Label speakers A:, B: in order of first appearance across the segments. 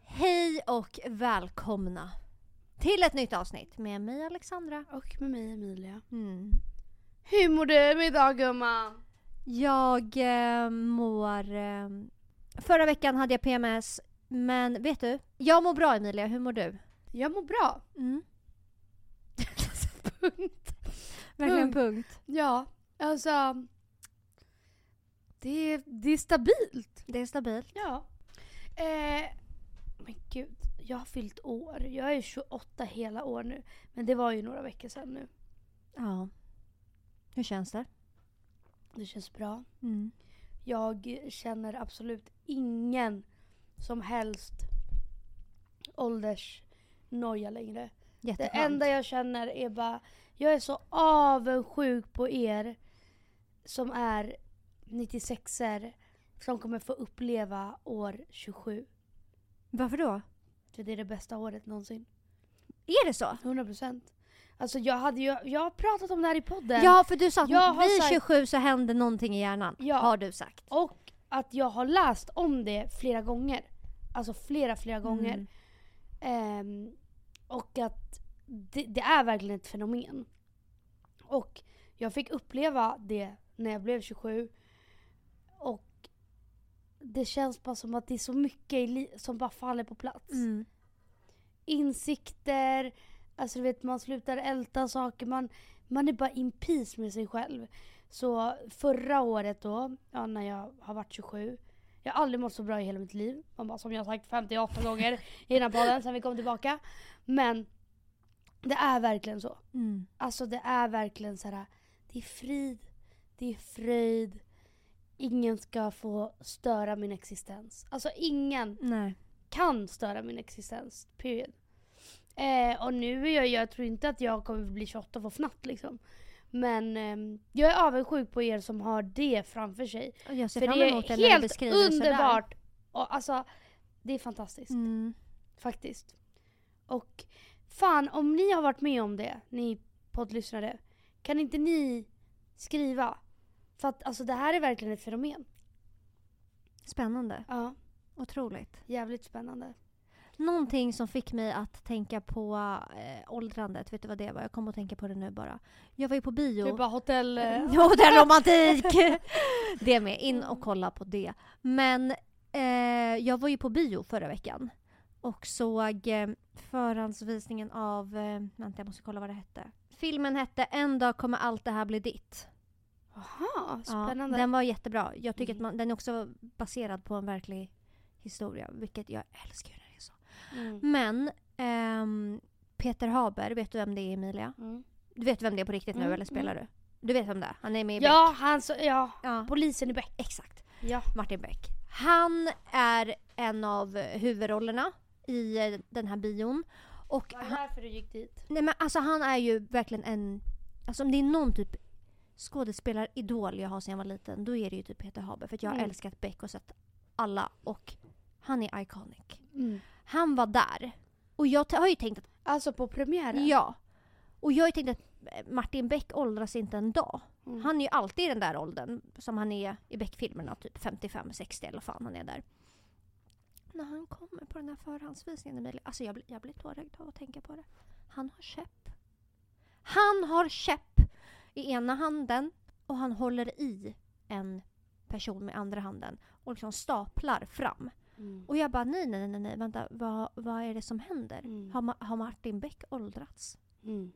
A: Hej och välkomna till ett nytt avsnitt med mig Alexandra.
B: Och med mig Emilia.
A: Mm.
B: Hur mår du idag gumman?
A: Jag eh, mår... Eh, förra veckan hade jag PMS, men vet du? Jag mår bra Emilia, hur mår du?
B: Jag mår bra.
A: Mm. Verkligen punkt.
B: Ja, alltså. Det, det är stabilt.
A: Det är stabilt.
B: Ja. Eh, men gud, jag har fyllt år. Jag är 28 hela år nu. Men det var ju några veckor sedan nu.
A: Ja. Hur känns det? Mm.
B: Det känns bra. Jag känner absolut ingen som helst åldersnoja längre. Det
A: Jätteskönt.
B: enda jag känner är bara, jag är så avundsjuk på er som är 96er som kommer få uppleva år 27.
A: Varför då?
B: För det är det bästa året någonsin.
A: Är det så?
B: 100%. Alltså jag, hade ju, jag har pratat om det här i podden.
A: Ja, för du sa
B: Jag
A: att
B: har
A: vid
B: sagt-
A: 27 så händer någonting i hjärnan.
B: Ja.
A: Har du sagt.
B: Och att jag har läst om det flera gånger. Alltså flera, flera gånger.
A: Mm.
B: Ehm, och att det, det är verkligen ett fenomen. Och jag fick uppleva det när jag blev 27. Och det känns bara som att det är så mycket i li- som bara faller på plats.
A: Mm.
B: Insikter, alltså du vet man slutar älta saker. Man, man är bara in peace med sig själv. Så förra året då, ja, när jag har varit 27. Jag har aldrig mått så bra i hela mitt liv. Man bara, som jag har sagt 58 gånger i den här podden sen vi kom tillbaka. Men det är verkligen så.
A: Mm.
B: Alltså det är verkligen så här. Det är frid, det är fröjd. Ingen ska få störa min existens. Alltså ingen
A: Nej.
B: kan störa min existens. Period. Eh, och nu är jag, jag tror inte att jag kommer bli 28 och få fnatt liksom. Men ehm, jag är avundsjuk på er som har det framför sig.
A: Och Jag ser
B: För
A: fram
B: det
A: emot det
B: är
A: när du
B: helt
A: beskriver det sådär.
B: underbart. Och, alltså, det är fantastiskt.
A: Mm.
B: Faktiskt. Och fan, om ni har varit med om det, ni poddlyssnare, kan inte ni skriva? För att alltså det här är verkligen ett fenomen.
A: Spännande.
B: Ja,
A: Otroligt.
B: jävligt spännande.
A: Någonting som fick mig att tänka på eh, åldrandet, vet du vad det var? Jag kom att tänka på det nu bara. Jag var ju på bio.
B: bara hotell... eh,
A: Jo, det är romantik! det med, in och kolla på det. Men eh, jag var ju på bio förra veckan och såg eh, förhandsvisningen av, eh, vänta jag måste kolla vad det hette. Filmen hette En dag kommer allt det här bli ditt.
B: Jaha,
A: Ja,
B: spännande.
A: den var jättebra. Jag tycker
B: Mm.
A: att man, den är också baserad på en verklig historia, vilket jag älskar ju när det är så.
B: Mm.
A: Men ehm, Peter Haber, vet du vem det är Emilia?
B: Mm.
A: Du vet vem det är på riktigt nu
B: Mm,
A: eller spelar du? Du vet vem det är? Han är med i Beck.
B: Ja, han så, ja,
A: Ja,
B: polisen i Bäck.
A: exakt.
B: Ja.
A: Martin Beck. Han är en av huvudrollerna i eh, den här bion. Och
B: Var det
A: han,
B: därför du gick dit?
A: nej men alltså han är ju verkligen en... Alltså om det är någon typ skådespelaridol jag har sedan jag var liten, då är det ju typ Peter Haber. För att jag har
B: Mm.
A: älskat Beck och sett alla. Och han är iconic. Han var där. Och jag t- har ju tänkt att...
B: Mm. Alltså på premiären?
A: Ja. Och jag har ju tänkt att eh, Martin Beck åldras inte en dag.
B: Mm.
A: Han är ju alltid i den där åldern som han är i Beck-filmerna, typ 55-60 eller fan han är där. När han kommer på den här förhandsvisningen Emilia, alltså jag blir, jag blir tårögd av att tänka på det. Han har käpp. Han har käpp i ena handen och han håller i en person med andra handen och liksom staplar fram.
B: Mm.
A: Och jag bara nej, nej, nej, nej, vänta, vad, vad är det som händer?
B: Mm.
A: Har, Ma- har Martin Beck åldrats?
B: Mm.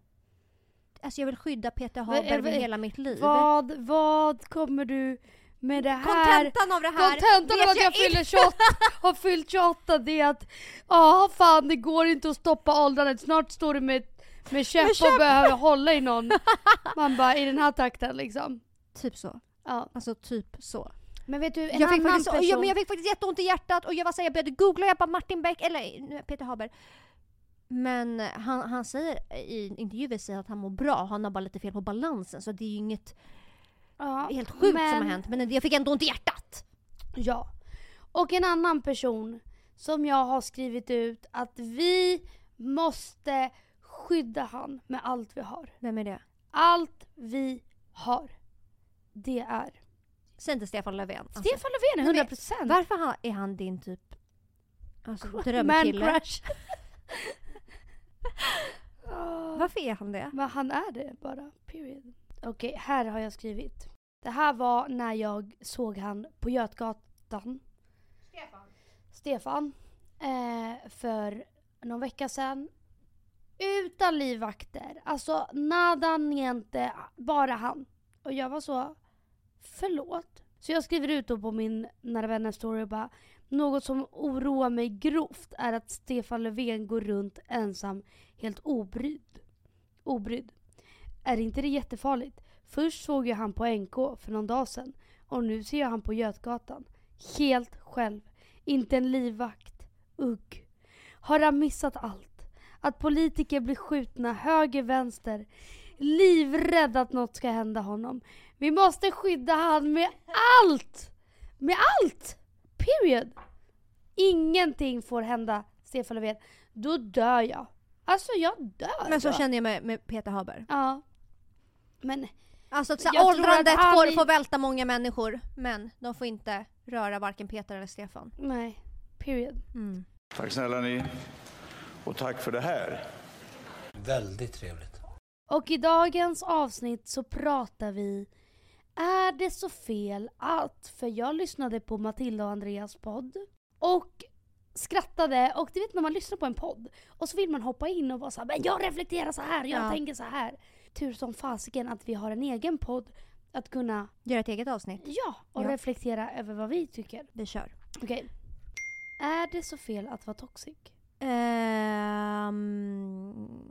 A: Alltså jag vill skydda Peter
B: Vad är-
A: Haber med
B: vad är-
A: hela mitt liv.
B: eh, Vad, vad kommer du med det här?
A: Kontentan av det här
B: Kontentan
A: vet
B: av att jag
A: inte.
B: fyller 28, har fyllt 28 det är att ja fan det går inte att stoppa åldrandet, snart står du med, med käpp och behöver hålla i någon. Man bara i den här takten liksom.
A: Typ så.
B: Ja.
A: Alltså typ så.
B: Men vet du en
A: Jag fick,
B: annan
A: faktiskt,
B: person?
A: ja, men jag fick faktiskt jätteont i hjärtat och jag var så här, jag började googla, jag bara Martin Beck, eller nu är Peter Haber. Men han, han säger i intervjuer säger att han mår bra, han har bara lite fel på balansen så det är ju inget
B: Ja,
A: helt sjukt som
B: men-
A: har hänt men jag fick ändå ont i hjärtat.
B: Ja. Och en annan person som jag har skrivit ut att vi måste skydda han med allt vi har.
A: Vem är det?
B: Allt vi har. Det är
A: Säg inte Stefan Löfven. Alltså,
B: Stefan Löfven,
A: men-
B: 100%.
A: Varför ha- är han din typ Alltså
B: Cru-
A: drömkille.
B: man crush. Ah.
A: Varför är han det?
B: Men han är det bara, period. Okej, här har jag skrivit. Det här var när jag såg han på Götgatan. Stefan. Eh, för någon vecka sedan. Utan livvakter. Alltså nada niente, bara han. Och jag var så, förlåt. Så jag skriver ut då på min nära vänner story och bara något som oroar mig grovt är att Stefan Löfven går runt ensam helt obrydd. Obrydd. Är inte det jättefarligt? Först såg jag han på NK för någon dag sedan och nu ser jag han på Götgatan. Helt själv. Inte en livvakt. Ugg. Har han missat allt? Att politiker blir skjutna höger, vänster. Livrädd att något ska hända honom. Vi måste skydda han med allt! Med allt! Period. Ingenting får hända Stefan Löfven. Då dör jag. Alltså jag dör
A: Men så
B: då.
A: känner jag med, med Peter Haber.
B: Ja. Men
A: Alltså att så
B: Jag
A: här,
B: tror
A: åldrandet
B: att han
A: får,
B: är-
A: får välta många människor men de får inte röra varken Peter eller Stefan.
B: nej, period.
A: Mm.
C: Tack snälla ni. Och tack för det här.
D: Väldigt trevligt.
B: Och i dagens avsnitt så pratar vi Är det så fel att? För jag lyssnade på Matilda och Andreas podd och skrattade och du vet när man lyssnar på en podd och så vill man hoppa in och vara så här, men jag reflekterar så här, jag
A: Ja.
B: tänker så här. Tur som fasiken att vi har en egen podd att kunna,
A: Gör ett eget avsnitt.
B: ja, och
A: Ja.
B: reflektera över vad vi tycker.
A: Vi kör.
B: Okej. Är det så fel att vara toxic?
A: Ehm,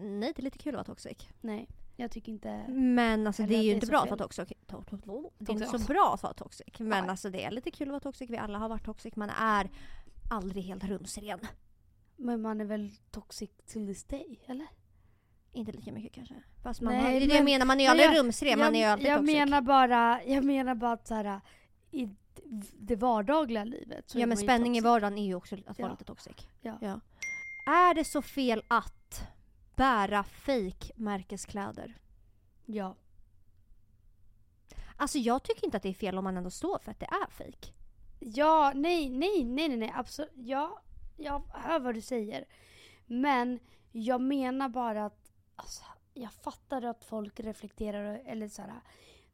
A: nej, det är lite kul att vara toxic.
B: Nej, jag tycker inte
A: Men alltså,
B: Eller
A: det är
B: att
A: ju
B: det
A: inte
B: är så
A: bra att
B: fel.
A: vara toxic. To- to- to- Det är inte
B: Toxic.
A: så bra att vara toxic. Men
B: Nej.
A: alltså, det är lite kul att vara toxic. Vi alla har varit toxic. Man är aldrig helt rumsren.
B: Men man är väl toxic till this day, eller?
A: Inte lika mycket kanske. Fast man
B: Nej,
A: har, det är det
B: men-
A: jag menar, man är ju
B: men
A: aldrig
B: jag-
A: rumsren. Man är ju alltid
B: jag
A: toxic.
B: menar bara, jag menar bara att så här, i det vardagliga livet så
A: ja
B: är
A: men
B: man ju
A: spänning i
B: toxic.
A: vardagen är ju också att vara
B: Ja.
A: lite toxic.
B: Ja.
A: Är det så fel att bära fejkmärkeskläder?
B: Ja.
A: Alltså jag tycker inte att det är fel om man ändå står för att det är fejk.
B: Ja, nej, nej, nej, nej, nej, absolut. Ja, jag hör vad du säger. Men jag menar bara att, alltså, jag fattar att folk reflekterar och- eller så här.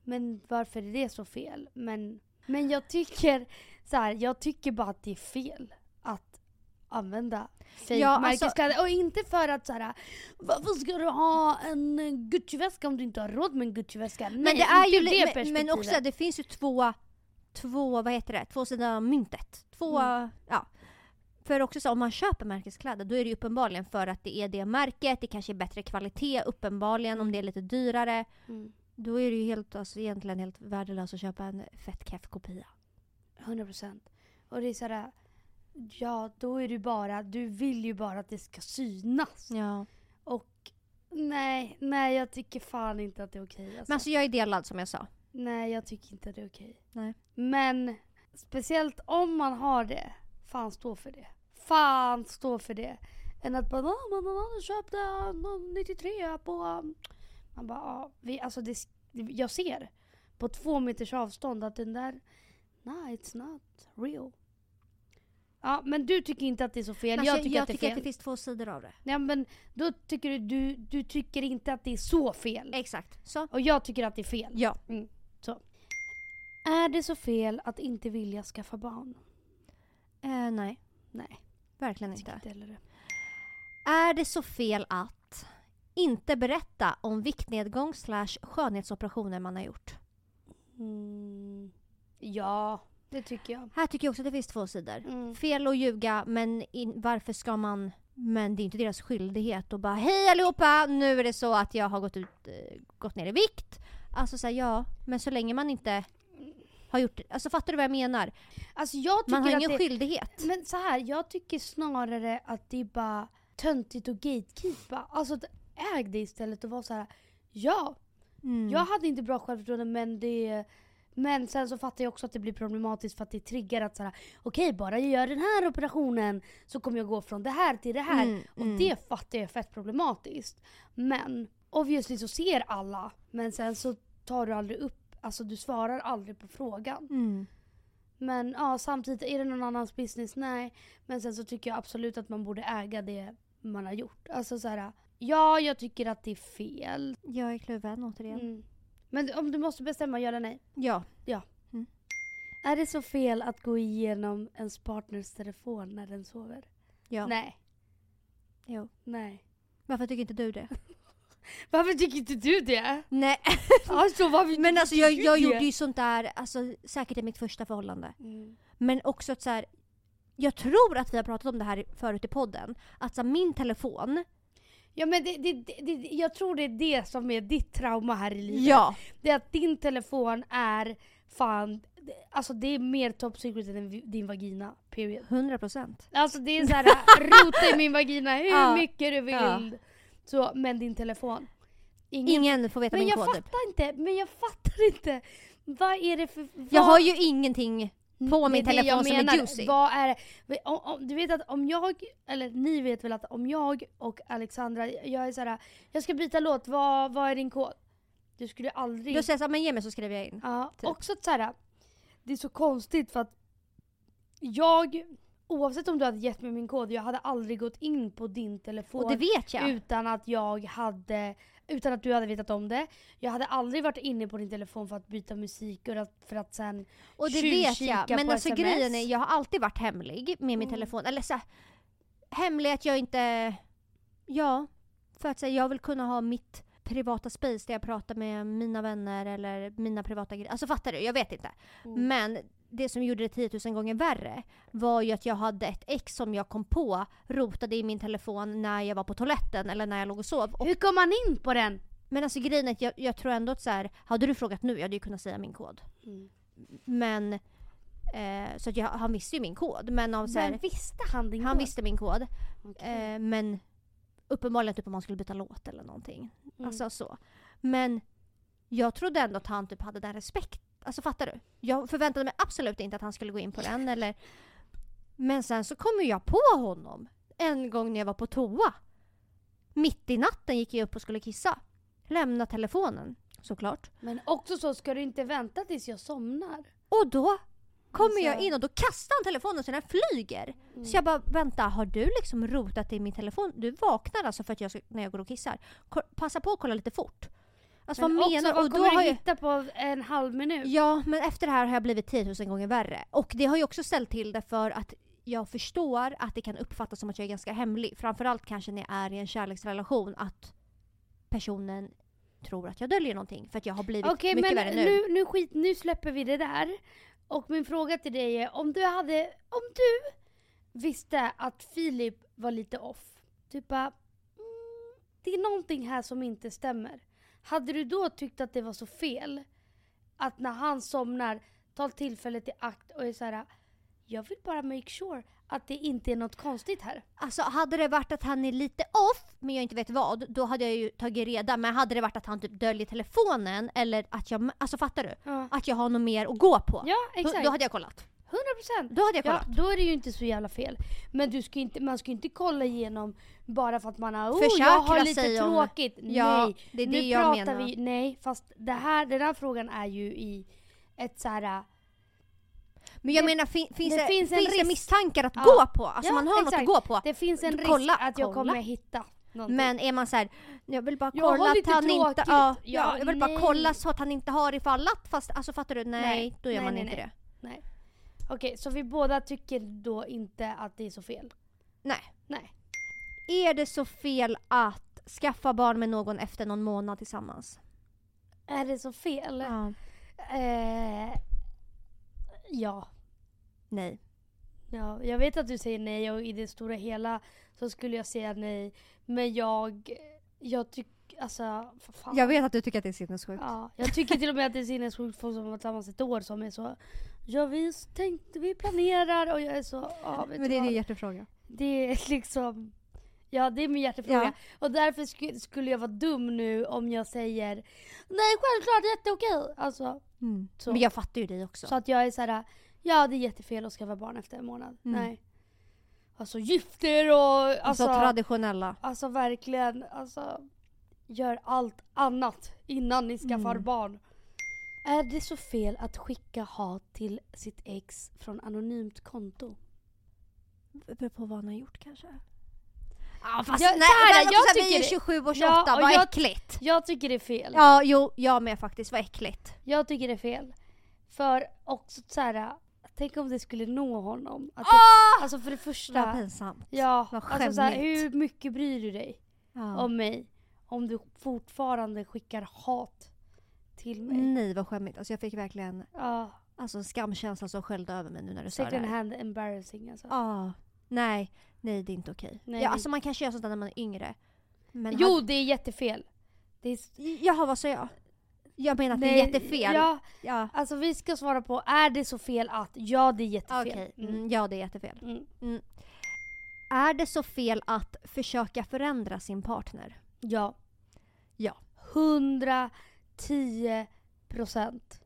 B: Men varför är det så fel? Men, men jag tycker så här, jag tycker bara att det är fel att använda
A: Ja, alltså-
B: fejkmärkeskläder. och inte för att så här, varför ska du ha en Gucci-väska om du inte har råd med en Gucci-väska? Nej,
A: men det är ju
B: inte ur
A: li-
B: det
A: men, men också
B: perspektivet.
A: det finns ju två, två vad heter det, två sidor av myntet. Två,
B: Mm.
A: ja. För också så om man köper märkeskläder då är det ju uppenbarligen för att det är det märket, det kanske är bättre kvalitet uppenbarligen om det är lite dyrare.
B: Mm,
A: Då är det ju helt, alltså, egentligen helt värdelöst att köpa en fett keff kopia.
B: 100 procent. Och det är så här, ja då är du bara, du vill ju bara att det ska synas.
A: Ja.
B: Och nej, nej jag tycker fan inte att det är okej. alltså.
A: Men alltså jag är delad som jag sa.
B: Nej, jag tycker inte att det är okej.
A: Nej.
B: Men speciellt om man har det, fan stå för det. Fan stå för det. Än att bara, "Ah, men någon annan köpte någon 93 på... um." Man bara, ja, vi, alltså det, jag ser på två meters avstånd att den där, nej it's not real. Ja, men du tycker inte att det är så fel.
A: Men
B: jag
A: alltså,
B: tycker att det är fel.
A: det finns två sidor av det.
B: Nej, men då tycker du, du, du tycker inte att det är så fel.
A: Exakt. Så.
B: Och jag tycker att det är fel.
A: Ja.
B: Är det så fel att inte vilja skaffa barn?
A: Eh, nej,
B: Nej,
A: verkligen
B: jag tycker
A: inte.
B: inte heller det.
A: Är det så fel att inte berätta om viktnedgång slash skönhetsoperationer man har gjort?
B: Mm. Ja, det tycker jag.
A: Här tycker jag också att det finns två sidor.
B: Mm.
A: Fel att ljuga, men in, varför ska man... Men det är inte deras skyldighet att bara hej allihopa, nu är det så att jag har gått, ut, eh, gått ner i vikt. Alltså såhär ja, men så länge man inte har gjort Alltså fattar du vad jag menar?
B: Alltså jag tycker
A: Man har
B: att
A: ingen
B: det...
A: skyldighet.
B: Men så här, jag tycker snarare att det är bara töntigt och gatekeepa. Alltså att äg det istället och var så här. ja,
A: Mm.
B: jag hade inte bra självförtroende men det men sen så fattar jag också att det blir problematiskt för att det triggar att såhär, okej bara jag gör den här operationen så kommer jag gå från det här till det här.
A: Mm,
B: Och
A: mm.
B: det fattar jag är fett problematiskt. Men obviously så ser alla. Men sen så tar du aldrig upp, alltså du svarar aldrig på frågan.
A: Mm.
B: Men ja, samtidigt, är det någon annans business? Nej. Men sen så tycker jag absolut att man borde äga det man har gjort. Alltså så här, ja jag tycker att det är fel.
A: Jag är kluven återigen.
B: Mm. Men om du måste bestämma, ja eller nej?
A: Ja.
B: Är det så fel att gå igenom ens partners telefon när den sover?
A: ja.
B: Nej.
A: Jo.
B: Nej.
A: Varför tycker inte du det?
B: Varför tycker inte du det?
A: Nej.
B: Alltså varför
A: Men alltså jag,
B: tycker
A: jag
B: det?
A: gjorde ju sånt där, alltså, säkert i mitt första förhållande.
B: Mm.
A: Men också att så här, jag tror att vi har pratat om det här förut i podden. Att så här, min telefon,
B: Ja men det, det, det, det, jag tror det är det som är ditt trauma här i livet.
A: ja.
B: Det är att din telefon är fan, det- alltså det är mer top secret än vi- din vagina. Period.
A: 100 procent.
B: Alltså det är såhär, rota i min vagina hur
A: Ja.
B: mycket du vill.
A: Ja.
B: Så, men din telefon. Ingen,
A: Ingen får veta
B: men
A: min
B: jag
A: kod. Typ.
B: fattar inte, men jag fattar inte. Vad är det för... Vad,
A: Jag har ju ingenting på
B: Mm, Det är
A: min
B: det
A: telefon
B: jag
A: som är
B: menar.
A: juicy.
B: Vad är det? Om, om, du vet att om jag, eller ni vet väl att om jag och Alexandra, jag är såhär, jag ska byta låt, vad, vad är din kod? Du skulle aldrig...
A: Då säger jag såhär, men ge mig så skriver jag in.
B: Ja,
A: Typ.
B: också att så här, det är så konstigt för att jag, oavsett om du hade gett mig min kod, jag hade aldrig gått in på din telefon
A: Och det vet jag.
B: utan att jag hade, utan att du hade vetat om det. Jag hade aldrig varit inne på din telefon för att byta musik och att, för att sen
A: Och det vet
B: tjuvkika
A: jag. Men
B: på
A: alltså
B: SMS.
A: grejen är, jag har alltid varit hemlig med min
B: Mm.
A: telefon. Eller så här, hemlig att jag inte... Ja. För att säga, jag vill kunna ha mitt privata space där jag pratar med mina vänner eller mina privata grejer. Alltså fattar du? Jag vet inte.
B: Mm.
A: Men det som gjorde det 10 000 gånger värre var ju att jag hade ett ex som jag kom på rotade i min telefon när jag var på toaletten eller när jag låg och sov. Och,
B: Hur kom man in på den?
A: men alltså grejen är att jag, jag tror ändå att så här, hade du frågat nu, jag hade ju kunnat säga min kod.
B: Mm.
A: Men... Eh, så att jag, han visste ju min kod. Men av, så
B: Men
A: här,
B: visste han din
A: han
B: kod?
A: visste min kod.
B: Okej.
A: Eh, men uppenbarligen typ om han skulle byta låt eller någonting.
B: Mm.
A: Alltså så. Men jag trodde ändå att han typ hade den respekt. Alltså fattar du? Jag förväntade mig absolut inte att han skulle gå in på den eller... Men sen så kom ju jag på honom. En gång när jag var på toa. Mitt i natten gick jag upp och skulle kissa. Lämna telefonen, såklart.
B: Men också så, ska du inte vänta tills jag somnar?
A: Och då kommer
B: Alltså-
A: jag in och då kastar han telefonen så den flyger. Mm.
B: Mm.
A: Så jag bara, vänta, har du liksom rotat i min telefon? Du vaknar alltså för att jag ska, när jag går och kissar. Ko- passa på att kolla lite fort. Alltså
B: Men
A: vad
B: också,
A: menar
B: vad
A: Och då
B: kommer du
A: har jag,
B: hitta på en halv minut?
A: Ja, men efter det här har jag blivit 10 000 gånger värre. Och det har ju också ställt till det för att jag förstår att det kan uppfattas som att jag är ganska hemlig. Framförallt kanske när jag är i en kärleksrelation att personen tror att jag döljer någonting för att jag har blivit
B: Okej
A: mycket
B: men
A: värre nu.
B: nu, nu, skit, nu släpper vi det där. Och min fråga till dig är om du hade, om du visste att Filip var lite off. Typ bara, mm, det är någonting här som inte stämmer. Hade du då tyckt att det var så fel? Att när han somnar, ta tillfället i akt och är såhär, jag vill bara make sure att det inte är något konstigt här.
A: Alltså hade det varit att han är lite off, men jag inte vet vad, då hade jag ju tagit reda. Men hade det varit att han typ döljer telefonen eller att jag, alltså fattar du?
B: Ja,
A: Att jag har något mer att gå på.
B: ja
A: Då-
B: exakt.
A: Då hade jag kollat.
B: 100%.
A: Då hade jag
B: Ja,
A: kollat.
B: då är det ju inte så jävla fel. Men du ska ju inte, man ska ju inte kolla igenom bara för att man har, oh, jag har
A: Försäkra
B: lite
A: sig om-
B: tråkigt.
A: Ja,
B: nej,
A: det är
B: nu
A: det jag
B: pratar
A: menar.
B: vi, nej, fast det här, den här frågan är ju i ett så här.
A: Men jag
B: Det-
A: menar fin, finns,
B: det
A: det,
B: finns
A: finns,
B: en
A: det
B: risk.
A: misstankar att
B: Ja.
A: gå på? Alltså
B: Ja,
A: man har
B: exakt.
A: något att gå på.
B: Det finns en risk
A: Kolla,
B: att jag
A: kolla.
B: kommer hitta någonting.
A: Men är man så här, jag vill bara
B: Jag har
A: kolla att
B: lite
A: han inte...
B: tråkigt.
A: Ja,
B: Ja,
A: ja, jag vill
B: nej.
A: bara kolla så att han inte har ifallat fast, alltså fattar du? Nej,
B: Nej,
A: då gör
B: nej,
A: man
B: nej,
A: inte
B: nej.
A: det.
B: Okej, så vi båda tycker då inte att det är så fel.
A: Nej.
B: Nej.
A: Är det så fel att skaffa barn med någon efter någon månad tillsammans?
B: Är det så fel?
A: Ja.
B: Eh, ja.
A: Nej.
B: Ja, jag vet att du säger nej och i det stora hela så skulle jag säga nej. Men jag, jag tycker, alltså, för fan.
A: Jag vet att du tycker att det är sinnessjukt.
B: Ja, jag tycker till och med att det är sinnessjukt folk som har varit tillsammans ett år som är så, ja vi tänkte, vi planerar och jag är så, ja vet
A: men
B: du
A: det är
B: vad?
A: din hjärtefråga.
B: Det är liksom, ja det är min hjärtefråga.
A: Ja.
B: Och därför sku, skulle jag vara dum nu om jag säger, nej självklart jätteokej. Alltså, Så.
A: Men jag fattar ju dig också.
B: så att jag är såhär, ja det är jättefel att skaffa barn efter en månad.
A: Mm.
B: Nej. Alltså gifter och
A: alltså,
B: alltså,
A: traditionella.
B: alltså verkligen, alltså gör allt annat innan ni skaffar
A: Mm.
B: barn. Är det så fel att skicka hat till sitt ex från anonymt konto?
A: Det beror på vad han har gjort kanske. Ja fast
B: Ja,
A: nej,
B: så
A: nej,
B: här, jag
A: jag
B: tycker
A: vi är
B: det-
A: 27 och 28,
B: Ja, och
A: vad
B: jag-
A: äckligt.
B: Jag tycker det är fel.
A: Ja jo, jag med faktiskt, vad äckligt.
B: Jag tycker det är fel. För också så här, tänk om det skulle nå honom. Att det,
A: Åh!
B: Alltså för det
A: Vad
B: första,
A: pinsamt.
B: ja,
A: vad
B: alltså så här,
A: skämmigt.
B: hur mycket bryr du dig
A: Ja.
B: om mig om du fortfarande skickar hat till mig?
A: Nej vad skämmigt, alltså jag fick verkligen
B: Ja,
A: alltså, en skamkänsla som sköljde över mig nu när du sa det
B: second
A: här.
B: hand embarrassing alltså.
A: Ja, nej, nej det är inte okej.
B: Nej,
A: ja,
B: det-
A: alltså man kanske gör sånt där när man är yngre. Men
B: Jo, det är jättefel. Det är s-
A: han... Jaha vad sa jag? Jag menar att det är
B: Nej,
A: jättefel.
B: Ja,
A: ja.
B: alltså vi ska svara på, är det så fel att? Ja, det är jättefel.
A: Okej,
B: Mm.
A: mm, ja det är jättefel.
B: Mm.
A: Är det så fel att försöka förändra sin partner?
B: Ja.
A: Ja.
B: 110 procent.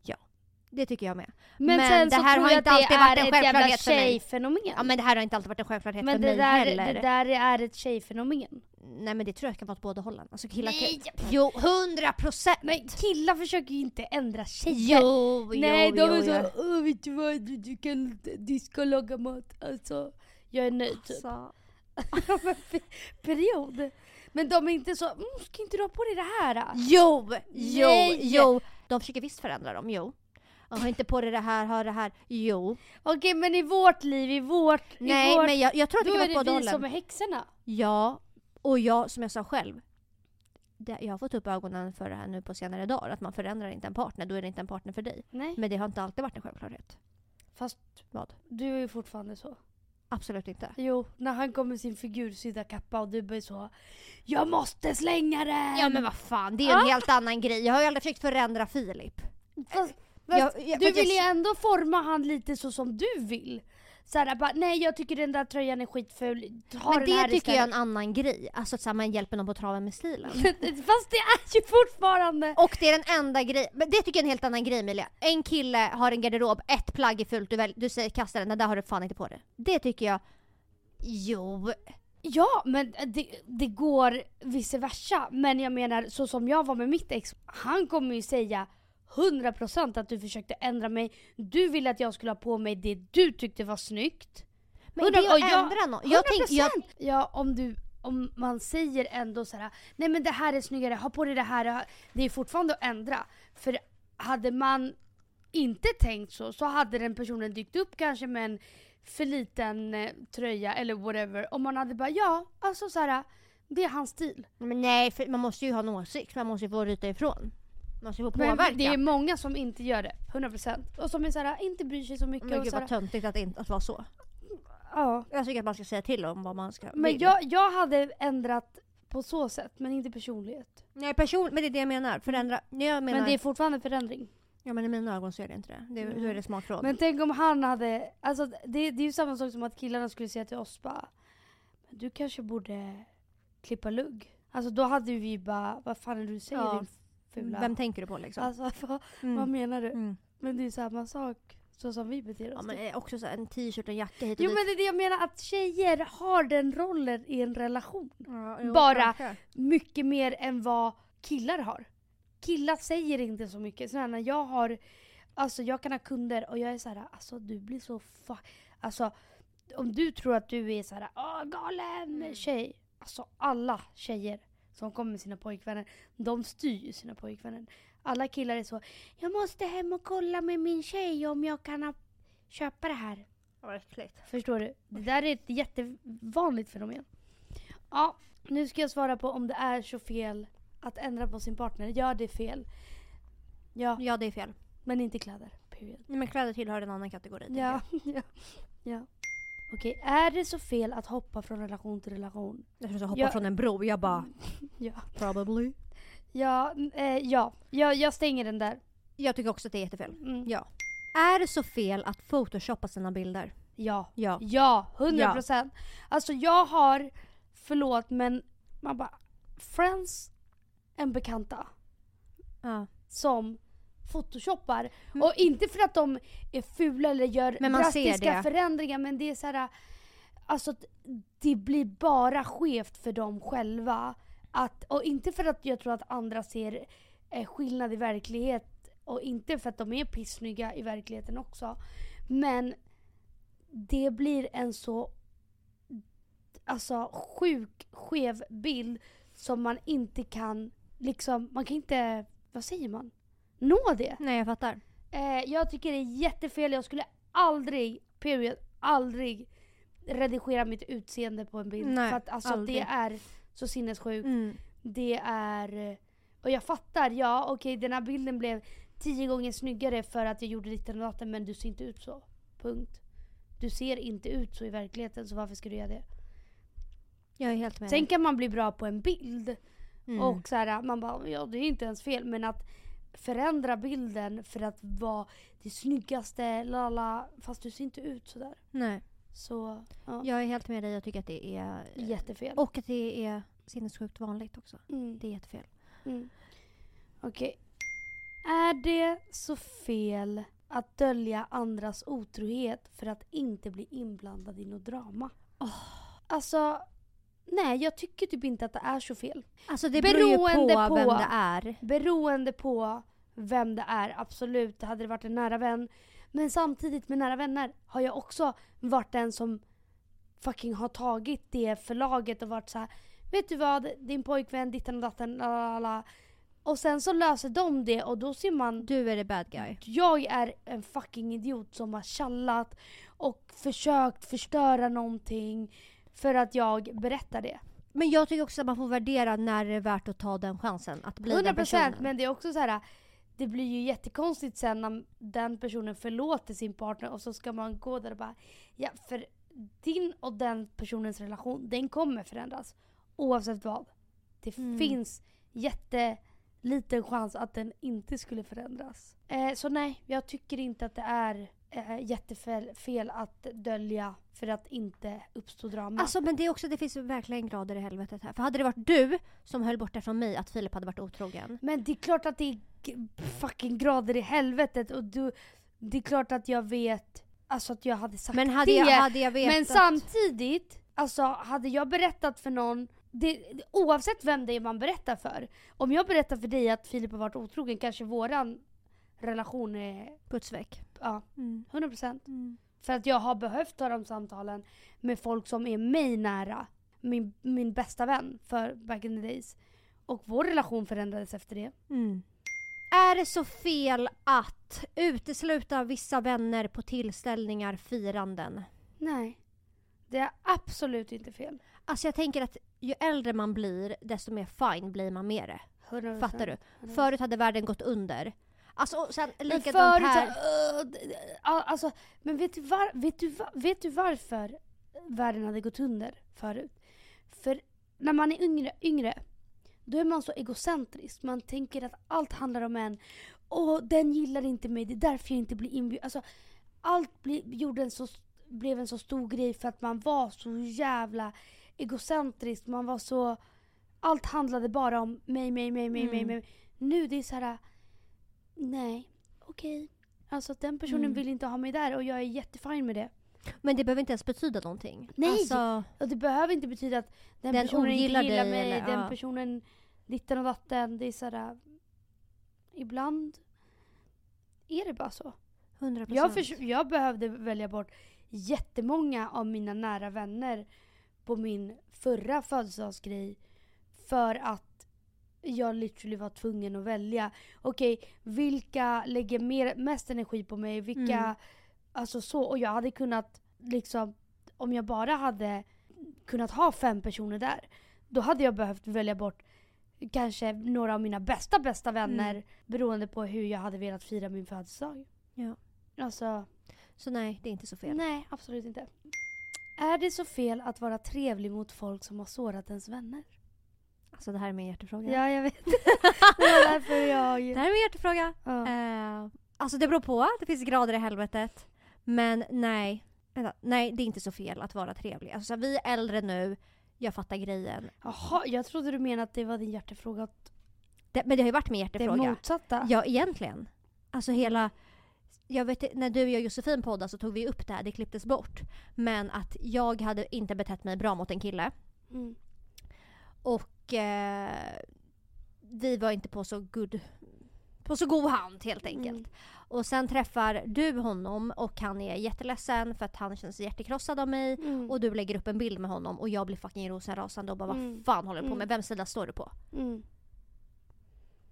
A: Det tycker jag med.
B: Men,
A: Men
B: sen
A: det
B: så
A: här
B: tror
A: har
B: jag
A: inte
B: att
A: alltid
B: det
A: varit
B: är
A: en
B: ett jävla
A: självklarhet för mig.
B: tjejfenomen.
A: Ja men det här har inte alltid varit en självklarhet för
B: men det
A: mig
B: där,
A: heller.
B: det där är ett tjejfenomen.
A: Nej men det tror jag kan vara åt båda hållen. Alltså killar
B: Nej.
A: kan... Jo, hundra procent!
B: Men killar försöker ju inte ändra tjejer.
A: Jo,
B: Nej,
A: jo,
B: de
A: jo,
B: är
A: jo.
B: så "Åh, vet du vad, du, du kan du ska laga mat. Alltså, jag är nöjd typ.
A: Alltså,
B: Men pe- Period. Men de är inte så, mm, ska inte du ha på dig det här? då?"
A: Jo, jo,
B: Nej.
A: jo. De försöker visst förändra dem, jo. Jag har inte på dig det här, har det här, jo.
B: Okej men i vårt liv, i vårt, i
A: Nej
B: vårt
A: men jag, jag tror att det
B: då
A: kan
B: är
A: vara åt båda
B: det vi
A: hållen.
B: som är häxorna.
A: Ja, och jag, som jag sa själv. Det, jag har fått upp ögonen för det här nu på senare dagar, att man förändrar inte en partner, då är det inte en partner för dig.
B: Nej.
A: Men det har inte alltid varit en självklarhet.
B: Fast
A: Vad?
B: du är ju fortfarande så.
A: Absolut inte.
B: Jo, när han kom med sin figursydda kappa och du bara så Jag måste slänga den!
A: Ja men vad fan, det är ju en helt annan grej. Jag har ju aldrig försökt förändra Filip.
B: Fast,
A: Jag-
B: fast,
A: jag-
B: du
A: jag-
B: vill ju ändå forma han lite så som du vill. Såhär bara, nej jag tycker den där tröjan är skitful, ta
A: Men
B: den
A: det
B: här
A: tycker jag är en
B: istället.
A: annan grej. Alltså att så här, man hjälper någon på traven med stilen.
B: Fast det är ju fortfarande...
A: Och det är den enda grejen, men det tycker jag är en helt annan grej Emilia. En kille har en garderob, ett plagg är fult, du, väl, du säger kasta den, den där har du fan inte på dig. Det tycker jag, jo.
B: Ja, men det, det går vice versa. Men jag menar, så som jag var med mitt ex, han kommer ju säga 100% att du försökte ändra mig. Du ville att jag skulle ha på mig det du tyckte var snyggt.
A: Men
B: Hundra-
A: det
B: och
A: är att
B: jag-
A: ändra någon. Jag tänk, jag,
B: Ja, om du om man säger ändå så här, nej men det här är snyggare, ha på dig det här. Det är fortfarande att ändra. För hade man inte tänkt så, så hade den personen dykt upp kanske med en för liten eh, tröja eller whatever. Om man hade bara, ja, alltså så här, det är hans stil.
A: men nej, för man måste ju ha en åsikt, man måste ju få ryta ifrån. Man måste ju få
B: Men
A: påverka.
B: det är många som inte gör det, 100%. Och som är så här, inte bryr sig så mycket.
A: men
B: och
A: gud
B: så
A: vad
B: här,
A: töntigt att, inte, att vara så.
B: ja.
A: Jag tycker att man ska säga till om vad man ska
B: Men
A: vill.
B: jag, jag hade ändrat på så sätt, men inte personlighet.
A: Nej person, men det är det jag menar. Förändra. Nej, Jag menar,
B: Men det är fortfarande förändring.
A: ja, men i mina ögon så är det inte det. det är-
B: Mm.
A: Då är det smakråd.
B: Men tänk om han hade, alltså det, det är ju samma sak som att killarna skulle säga till oss bara "Men Du kanske borde klippa lugg. Alltså då hade vi ju bara, vad fan är det du säger
A: Ja.
B: din fula...
A: Vem tänker du på liksom?
B: alltså vad,
A: Mm.
B: vad menar du?
A: Mm.
B: Men det är ju samma sak så som vi beter oss.
A: Ja, men eh, också så här, en t-shirt och en jacka hit och
B: Jo
A: dit.
B: men det är det jag menar, att tjejer har den rollen i en relation.
A: Ja, jo,
B: Bara-
A: kanske.
B: mycket mer än vad killar har. Killar säger inte så mycket. Så här, när jag har, alltså jag kan ha kunder och jag är så här, alltså du blir så fuck. Alltså om du tror att du är så här, åh galen
A: Mm.
B: tjej. Alltså alla tjejer som kommer med sina pojkvänner, de styr ju sina pojkvänner. Alla killar är så, jag måste hem och kolla med min tjej om jag kan ha, köpa det här.
A: Ja, Vad äckligt.
B: Förstår du? Det där är ett jättevanligt fenomen. Ja, nu ska jag svara på om det är så fel att ändra på sin partner. Ja, det är fel. Ja,
A: Ja, det är fel.
B: men inte kläder. Period.
A: Nej, men kläder tillhör en annan kategori. tycker
B: Ja,
A: jag.
B: ja, ja. Okej, är det så fel att hoppa från relation till relation?
A: Jag tror jag hoppa
B: Ja.
A: från en bro. Jag bara,
B: Ja.
A: probably.
B: Ja, n- eh, ja. ja jag stänger den där.
A: Jag tycker också att det är jättefel.
B: Mm.
A: Ja. Är det så fel att photoshoppa sina bilder?
B: Ja.
A: Ja.
B: Ja, 100 procent. Alltså jag har, förlåt men man bara, friends en bekanta.
A: ja.
B: som photoshoppar.
A: Mm.
B: Och inte för att de är fula eller gör
A: Men man ser
B: drastiska
A: det.
B: förändringar men det är så här. Alltså att det blir bara skevt för dem själva. Att, och inte för att jag tror att andra ser eh, skillnad i verklighet Och inte för att de är pissnygga i verkligheten också. Men det blir en så alltså sjuk skev bild som man inte kan liksom, man kan inte, vad säger man? Nå det.
A: Nej, jag fattar.
B: Eh, jag tycker det är jättefel. Jag skulle aldrig, period, aldrig redigera mitt utseende på en bild.
A: Nej,
B: för att alltså,
A: aldrig.
B: det är så sinnessjukt.
A: Mm.
B: Det är... eh, Och jag fattar, ja okej den här bilden blev tio gånger snyggare för att jag gjorde ditt och datten men du ser inte ut så. Punkt. Du ser inte ut så i verkligheten så varför ska du göra det?
A: Jag är helt med.
B: Sen
A: dig.
B: kan man bli bra på en bild
A: mm.
B: och så här, man bara, ja det är inte ens fel men att förändra bilden för att vara det snyggaste, lala, fast du ser inte ut sådär.
A: Nej,
B: Så, ja.
A: jag är helt med dig. Jag tycker att det är...
B: Jättefel.
A: Och att det är sinnessjukt vanligt också.
B: Mm.
A: Det är jättefel.
B: Mm. Okej. Är det så fel att dölja andras otrohet för att inte bli inblandad i något drama? Alltså, nej jag tycker typ inte att det är så fel.
A: Alltså det beror ju
B: Beroende
A: på,
B: på-
A: vem det är.
B: Beroende på vem det är, absolut. Hade det varit en nära vän. Men samtidigt med nära vänner har jag också varit den som fucking har tagit det förlaget och varit så här. Vet du vad, din pojkvän, ditten och datten, la, la, la. Och sen så löser de det och då ser man
A: Du är the bad guy.
B: jag är en fucking idiot som har tjallat och försökt förstöra någonting för att jag berättar det.
A: Men jag tycker också att man får värdera när det är värt att ta den chansen. Att bli den
B: 100%
A: personen.
B: men det är också så här. Det blir ju jättekonstigt sen när den personen förlåter sin partner och så ska man gå där och bara Ja, för din och den personens relation, den kommer förändras. Oavsett vad. Det
A: Mm.
B: finns jätteliten chans att den inte skulle förändras. Eh, så nej, jag tycker inte att det är eh, jättefel fel att dölja för att inte uppstå drama.
A: Alltså men det är också, det finns verkligen grader i helvetet här. För hade det varit du som höll borta från mig att Filip hade varit otrogen.
B: Men det är klart att det är g- fucking grader i helvetet och du, det är klart att jag vet alltså att jag hade sagt
A: Men hade
B: det.
A: jag, hade jag vetat.
B: men samtidigt, alltså hade jag berättat för någon, det, oavsett vem det är man berättar för. Om jag berättar för dig att Filip har varit otrogen kanske våran relation är,
A: Guds väck.
B: ja,
A: Mm.
B: 100%. För att jag har behövt ta de samtalen med folk som är mig nära. Min, min bästa vän för back in the days. Och vår relation förändrades efter det.
A: Mm. Är det så fel att utesluta vissa vänner på tillställningar, firanden?
B: Nej. Det är absolut inte fel.
A: Alltså jag tänker att ju äldre man blir, desto mer fine blir man med det.
B: 100%.
A: Fattar du?
B: Mm.
A: Förut hade världen gått under. Alltså och sen
B: Men
A: likadant
B: förut så
A: här.
B: här, "Åh, d- d- ja, alltså, men vet du, var, vet, du, va- vet du varför världen hade gått under förut? För när man är yngre, yngre, då är man så egocentrisk. Man tänker att allt handlar om en. Och den gillar inte mig, det är därför jag inte blir inbjuden. Alltså, allt bli, gjorde en så, blev en så stor grej för att man var så jävla egocentrisk. Man var så... Allt handlade bara om mig, mig, mig, mig, mig,
A: Mm.
B: mig. Nu det är så här... Nej, okej. Alltså att den personen
A: Mm.
B: vill inte ha mig där och jag är jättefin med det.
A: Men det behöver inte ens betyda någonting.
B: Nej!
A: Alltså,
B: Och det behöver inte betyda att den,
A: Den
B: personen
A: ogillar
B: inte gillar
A: dig
B: mig,
A: eller-
B: den
A: ja.
B: personen ditten och datten. Det är sådär... Ibland är det bara så.
A: 100%.
B: Jag, förs- jag behövde välja bort jättemånga av mina nära vänner på min förra födelsedagsgrej för att jag literally var tvungen att välja. Okej, vilka lägger mer, mest energi på mig? Vilka...
A: Mm.
B: Alltså så. Och jag hade kunnat liksom... Om jag bara hade kunnat ha fem personer där då hade jag behövt välja bort kanske några av mina bästa, bästa
A: Mm.
B: vänner beroende på hur jag hade velat fira min födelsedag.
A: Ja.
B: Alltså,
A: Så nej, det är inte så fel.
B: nej absolut inte. Är det så fel att vara trevlig mot folk som har sårat ens vänner?
A: Alltså det här är min hjärtefråga.
B: Ja, jag vet. det var därför
A: Det
B: jag...
A: här är min hjärtefråga.
B: Ja.
A: Eh, alltså det beror på. Det finns grader i helvetet. Men nej. Vänta, nej, det är inte så fel att vara trevlig. Alltså vi är äldre nu. Jag fattar grejen.
B: Jaha, jag trodde du menade att det var din hjärtefråga. Att
A: Det, men det har ju varit min
B: det är
A: hjärtefråga.
B: motsatta.
A: Ja, egentligen. Alltså hela... Jag vet, när du och jag och Josefin poddade så tog vi upp det här, det klipptes bort. Men att jag hade inte betett mig bra mot en kille.
B: Mm.
A: Och eh, vi var inte på så good på så god hand helt enkelt.
B: Mm.
A: Och sen träffar du honom och han är jätteledsen för att han känns hjärtekrossad av mig.
B: Mm.
A: Och du lägger upp en bild med honom och jag blir fucking rosenrasande och bara
B: Mm.
A: vad fan håller du på
B: Mm.
A: med? Vems sida står du på?
B: Mm.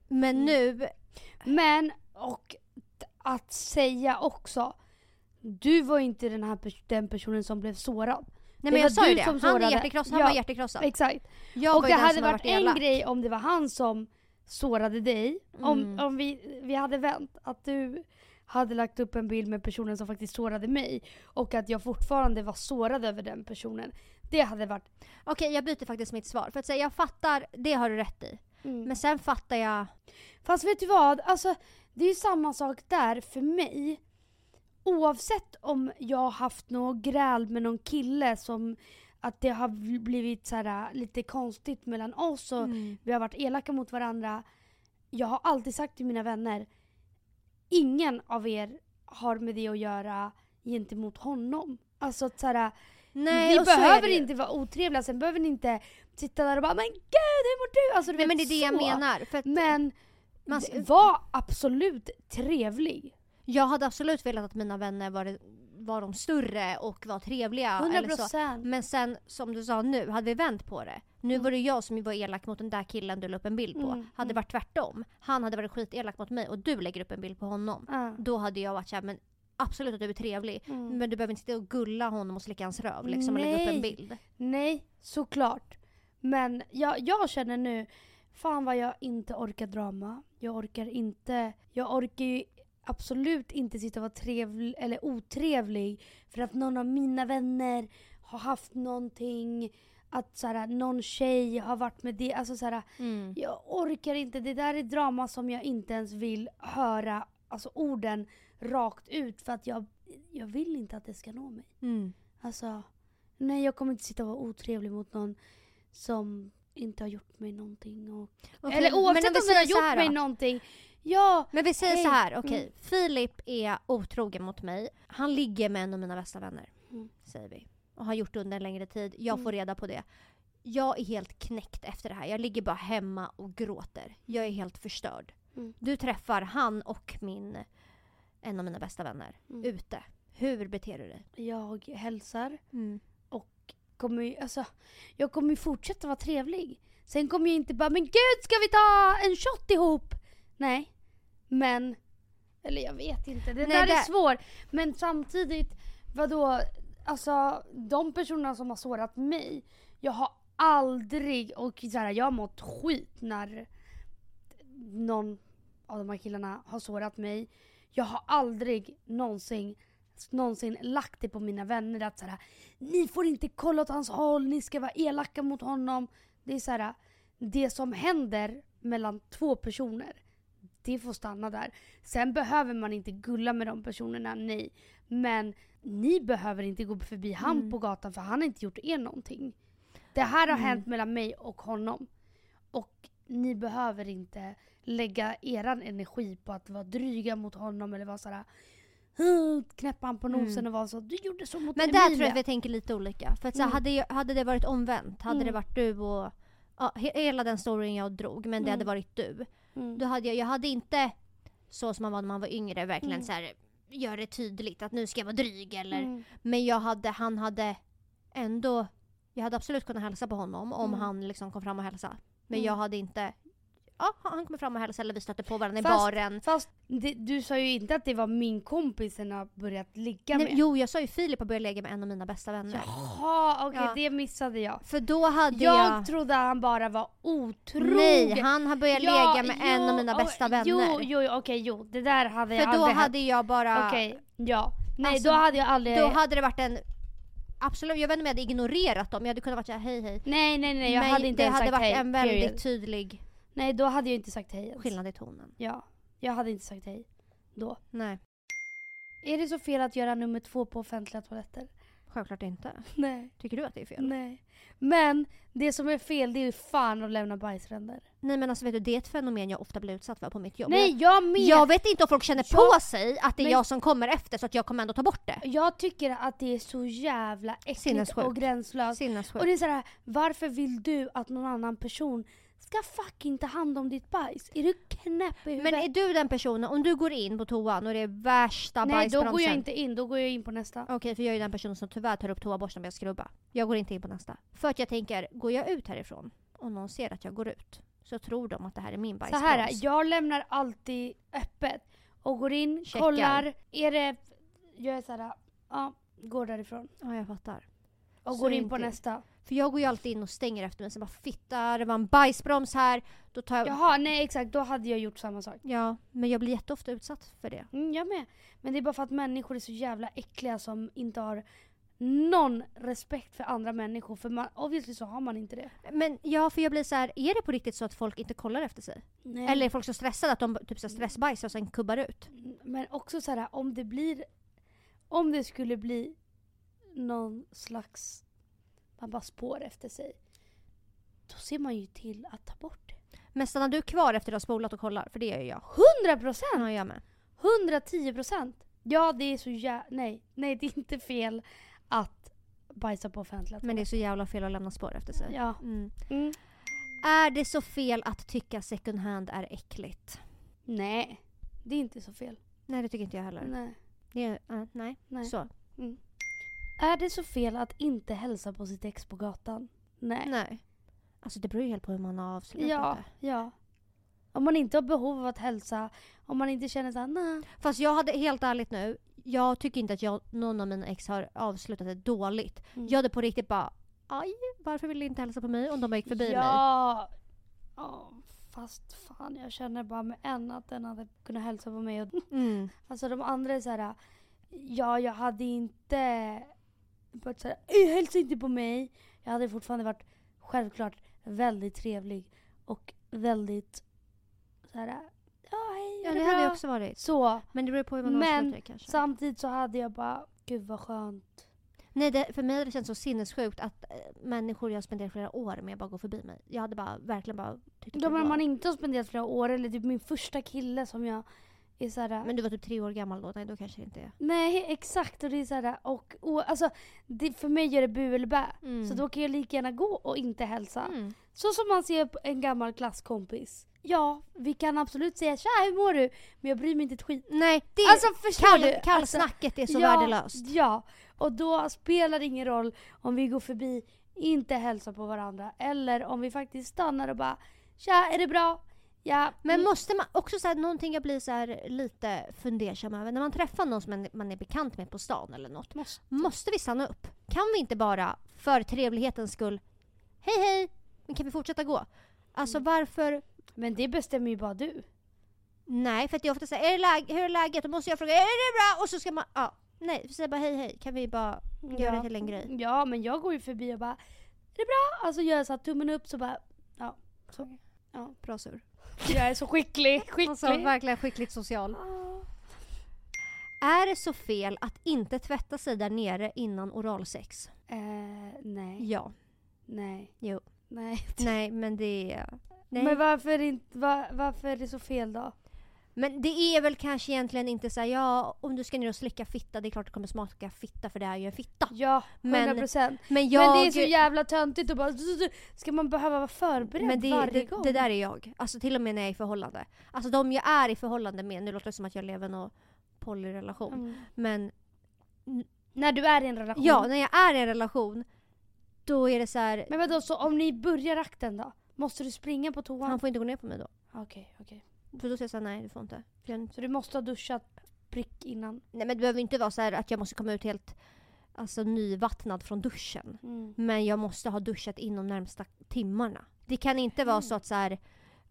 A: Men
B: Mm.
A: nu,
B: Men, och t- att säga också. Du var ju inte den här pers- den personen som blev sårad.
A: nej men
B: var
A: jag sa ju
B: du
A: det,
B: som
A: han är
B: sårade.
A: hjärtekrossad, han
B: Ja.
A: var hjärtekrossad.
B: Exakt.
A: Jag
B: och
A: var
B: det
A: ju den
B: hade
A: som har
B: varit
A: varit elak.
B: en grej om det var han som sårade dig. Om,
A: Mm.
B: om vi, vi hade vänt. Att du hade lagt upp en bild med personen som faktiskt sårade mig. Och att jag fortfarande var sårad över den personen. Det hade varit...
A: Okej jag byter faktiskt mitt svar. För att säga jag fattar, det har du rätt i.
B: Mm.
A: Men sen fattar jag,
B: Fast vet du vad? Alltså, det är ju samma sak där för mig. Oavsett om jag har haft något gräl med någon kille som att det har bl- blivit så här, äh, lite konstigt mellan oss
A: Mm.
B: och vi har varit elaka mot varandra. Jag har alltid sagt till mina vänner, ingen av er har med det att göra gentemot honom. Alltså att så här,
A: nej
B: vi
A: och så är
B: behöver
A: det ju.
B: inte vara otrevliga, sen behöver ni inte sitta där och bara 'Men gud, hur mår du?' Alltså, du
A: Nej
B: vet,
A: men det är det jag
B: så.
A: menar. För att
B: Men
A: man,
B: d- var absolut trevlig.
A: jag hade absolut velat att mina vänner var, var de större och var trevliga. Eller så.
B: procent.
A: Men sen som du sa nu, hade vi vänt på det. Nu var det jag som var elak mot den där killen du la upp en bild på.
B: Mm,
A: Hade det
B: mm.
A: varit tvärtom, han hade varit skitelak mot mig och du lägger upp en bild på honom.
B: Ja.
A: Då hade jag varit såhär, men absolut att du är trevlig.
B: Mm.
A: Men du behöver inte sitta och gulla honom och slicka hans röv liksom, och lägga upp
B: Nej.
A: en bild.
B: Nej, såklart. Men jag, jag känner nu, fan vad jag inte orkar drama. Jag orkar inte, jag orkar ju absolut inte sitta och vara trevlig eller otrevlig för att någon av mina vänner har haft någonting, att så här, någon tjej har varit med det. Alltså så här, Jag orkar inte. Det där är drama som jag inte ens vill höra alltså orden rakt ut för att jag, jag vill inte att det ska nå mig.
A: Mm.
B: Alltså, nej jag kommer inte sitta och vara otrevlig mot någon som inte har gjort mig någonting. Och,
A: Okej,
B: Eller
A: men vi
B: oavsett om den har
A: säger så här
B: gjort mig
A: då.
B: någonting. Ja,
A: Men vi säger
B: Hej.
A: så här, okej.
B: Mm.
A: Filip är otrogen mot mig. Han ligger med en av mina bästa vänner.
B: Mm.
A: Säger vi. Och har gjort det under en längre tid. Jag får
B: Mm.
A: reda på det. Jag är helt knäckt efter det här. Jag ligger bara hemma och gråter. Jag är helt förstörd.
B: Mm.
A: Du träffar han och min, en av mina bästa vänner
B: Mm.
A: ute. Hur beter du dig?
B: jag hälsar. Kommer, ju- alltså, jag kommer ju fortsätta vara trevlig. Sen kommer jag inte bara, men gud ska vi ta en shot ihop? Nej. Men, eller jag vet inte. Det
A: Nej,
B: där är
A: det-
B: svårt. Men samtidigt, vadå? Alltså de personerna som har sårat mig, jag har aldrig, och så här, jag har mått skit när någon av de här killarna har sårat mig. Jag har aldrig någonsin, någonsin lagt det på mina vänner att så här, ni får inte kolla åt hans håll, ni ska vara elaka mot honom. Det är så här, det som händer mellan två personer, det får stanna där. Sen behöver man inte gulla med de personerna, nej. Men ni behöver inte gå förbi han
A: Mm.
B: på gatan för han har inte gjort er någonting. Det här har
A: Mm.
B: hänt mellan mig och honom. Och ni behöver inte lägga eran energi på att vara dryga mot honom eller vara såhär knäppa han på
A: Mm.
B: nosen och vara så du gjorde så mot
A: Men
B: Emilia.
A: där tror jag att vi tänker lite olika. För att så här,
B: Mm.
A: hade, jag- hade det varit omvänt, hade det
B: Mm.
A: varit du och Ja, he- hela den storyn jag drog, men det hade
B: Mm.
A: varit du.
B: Mm.
A: Då hade jag, jag hade inte så som man var när man var yngre verkligen
B: Mm.
A: så här gör det tydligt att nu ska jag vara dryg eller
B: Mm.
A: men jag hade, han hade ändå jag hade absolut kunnat hälsa på honom om
B: Mm.
A: han liksom kom fram och hälsade. Men
B: Mm.
A: jag hade inte Ja, han kom fram och hälsade eller vi stötte på varandra i
B: Fast-
A: baren.
B: Fast det, du sa ju inte att det var min kompis den har börjat ligga
A: Nej,
B: med.
A: jo, jag sa ju Filip har börjat lägga med en av mina bästa vänner.
B: Jaha, okej
A: Ja.
B: det missade jag.
A: För då hade
B: Jag
A: jag...
B: trodde han bara var otrogen.
A: nej, han har börjat
B: Ja,
A: lägga med en
B: jo,
A: av mina
B: och-
A: bästa vänner.
B: Jo, jo, jo, okej, jo. Det där hade jag
A: för då
B: aldrig
A: hade jag bara...
B: hänt. Okej, ja. Nej,
A: Alltså,
B: då hade jag aldrig...
A: Då hade det varit en... Absolut, jag vet inte om jag hade ignorerat dem. Jag hade kunnat vara såhär hej hej.
B: Nej, nej, nej. Jag
A: Men
B: hade inte
A: det
B: ens
A: hade
B: sagt
A: varit
B: hej.
A: en väldigt
B: period.
A: tydlig
B: Nej, då hade jag inte sagt hej ens.
A: skillnad i tonen.
B: Ja, jag hade inte sagt hej då.
A: Nej,
B: Är det så fel att göra nummer två på offentliga toaletter?
A: självklart inte.
B: Nej.
A: Tycker du att det är fel? Nej,
B: Nej. Men det som är fel det är ju fan att lämna bajsränder.
A: men alltså vet du, det är ett fenomen jag ofta blir utsatt för på mitt jobb.
B: Nej jag med!
A: jag, jag vet inte om folk känner
B: Jag-
A: på sig att det är
B: men-
A: jag som kommer efter så att jag kommer ändå ta bort det.
B: Jag tycker att det är så jävla äckligt
A: Sinnessjukt.
B: och gränslöst.
A: Sinnessjukt.
B: Och det är sådär, varför vill du att någon annan person ska fucking ta hand om ditt bajs. Är du knäpp i huvudet?
A: Men är du den personen, om du går in på toan och det är värsta
B: Nej, då
A: bajsbromsen.
B: går jag inte in. Då går jag in på nästa.
A: Okej, för jag är ju den personen som tyvärr tar upp toaborsten med skrubba. Jag går inte in på nästa. För att jag tänker, går jag ut härifrån och någon ser att jag går ut så tror de att det här är min
B: Så
A: bajsbroms.
B: här, jag lämnar alltid öppet och går in,
A: Checkar.
B: kollar. Är det... Jag är så här, ja, går därifrån.
A: Ja, jag fattar.
B: Och
A: Så
B: går
A: är
B: in
A: inte
B: på
A: jag.
B: nästa.
A: För jag går ju alltid in och stänger efter mig. Sen bara fitta, det var en bajsbroms här. Då tar jag...
B: Jaha, nej exakt. Då hade jag gjort samma sak.
A: Ja, men jag blir jätteofta utsatt för det.
B: Mm, jag med. Men det är bara för att människor är så jävla äckliga som inte har någon respekt för andra människor. För man, obviously så har man inte det.
A: Men ja, för jag blir så här, är det på riktigt så att folk inte kollar efter sig?
B: Nej.
A: Eller är folk så stressade att de typ så här stressbajsar och sen kubbar ut?
B: Men också så här, om det blir... Om det skulle bli någon slags... Man bara spår efter sig. Då ser man ju till att ta bort det.
A: Men stannar du kvar efter att ha spolat och kollar? För det gör ju jag.
B: 100 procent!
A: Ja, jag med.
B: 110 procent! Ja, det är så jä... Nej. Nej, det är inte fel att bajsa på offentliga
A: Men det är så jävla fel att lämna spår efter sig.
B: Ja.
A: Mm.
B: Mm.
A: Är det så fel att tycka second hand är äckligt?
B: Nej, det är inte så fel.
A: Nej, det tycker inte jag heller.
B: Nej.
A: Det är, eh, nej.
B: Nej.
A: Så.
B: Är det så fel att inte hälsa på sitt ex på gatan? Nej.
A: Nej. Alltså det beror ju helt på hur man har avslutat
B: Ja,
A: det.
B: ja. Om man inte har behov av att hälsa, om man inte känner såhär nej.
A: Fast jag hade, helt ärligt nu, jag tycker inte att jag, någon av mina ex har avslutat det dåligt.
B: Mm.
A: Jag hade på riktigt bara Aj, varför vill du inte hälsa på mig om de bara gick förbi mig?
B: ja. Ja, fast fan jag känner bara med en att den hade kunnat hälsa på mig. Och,
A: Mm.
B: alltså de andra är såhär, ja jag hade inte varit såhär, "Ey, hälsa inte på mig. Jag hade fortfarande varit självklart väldigt trevlig och väldigt såhär, ja hej,
A: Ja,
B: är
A: det
B: bra?
A: hade jag också varit.
B: Så,
A: Men det beror på hur man
B: Men-
A: avslutar det kanske.
B: samtidigt så hade jag bara, gud vad skönt.
A: Nej, det, för mig hade det känts så sinnessjukt att eh, människor jag spenderat flera år med bara går förbi mig. Jag hade bara verkligen bara tyckt att
B: Då
A: det
B: men
A: var-
B: man inte har spenderat flera år, eller typ min första kille som jag är såhär,
A: Men du var typ tre år gammal då? Nej, då kanske det inte är.
B: Nej, exakt. Och det är så här, och, och alltså, det, för mig gör det bu eller bä.
A: Mm.
B: Så då kan jag lika gärna gå och inte hälsa. Så som man ser på en gammal klasskompis. Ja, vi kan absolut säga tja, hur mår du? Men jag bryr mig inte ett skit.
A: Nej, det är...
B: Alltså förstår
A: kall,
B: du? Alltså,
A: Kallsnacket är så värdelöst.
B: Ja, och då spelar det ingen roll om vi går förbi, inte hälsar på varandra. Eller om vi faktiskt stannar och bara tja, är det bra? Ja.
A: Men
B: mm,
A: måste man också säga någonting jag blir så här lite fundersam över. När man träffar någon som man- man är bekant med på stan eller något.
B: måste.
A: Måste vi stanna upp? Kan vi inte bara, för trevlighetens skull, hej hej, men kan vi fortsätta gå? Alltså
B: Mm.
A: varför?
B: Men det bestämmer ju bara du.
A: Nej, för att det är ofta så här, är det läge, hur är läget? Då måste jag fråga, är det bra? Och så ska man, ja. Nej, säg bara hej hej, kan vi bara göra det till en grej?
B: Ja, men jag går ju förbi och bara Är det bra? Alltså gör jag så här, tummen upp så bara Ja, så.
A: Bra sur.
B: Jag är så skicklig, skicklig.
A: Alltså verkligen skickligt social. Är det så fel att inte tvätta sig där nere innan oralsex?
B: eh, nej,
A: Ja.
B: nej,
A: Jo.
B: nej.
A: Nej, men det är... Nej.
B: Men
A: Men,
B: varför, inte, va- varför är det så fel då?
A: det är väl kanske egentligen inte så här, ja, om du ska ner och slicka fitta, det är klart det kommer smaka fitta för det är ju en fitta.
B: Ja, 100%.
A: Men
B: Men,
A: Men jag...
B: men det är så jävla töntigt och bara Ska man behöva vara förberedd
A: men det,
B: varje
A: det,
B: gång?
A: det där är jag. Alltså till och med när jag är i förhållande. Alltså de jag är i förhållande med, nu låter det som att jag lever i någon polyrelation.
B: Mm.
A: Men
B: När du är i en relation?
A: ja, när jag är i en relation, då är det så här,
B: Men vadå, så om ni börjar akten då? Måste du springa på
A: han
B: toan?
A: får inte gå ner på mig då.
B: Okej, okej.
A: För då säger jag såhär, nej du får inte. För jag,
B: Så du måste ha duschat prick innan?
A: nej men det behöver inte vara så här att jag måste komma ut helt alltså, nyvattnad från duschen.
B: Mm.
A: Men jag måste ha duschat inom närmsta timmarna. Det kan inte vara
B: Mm.
A: så att så här,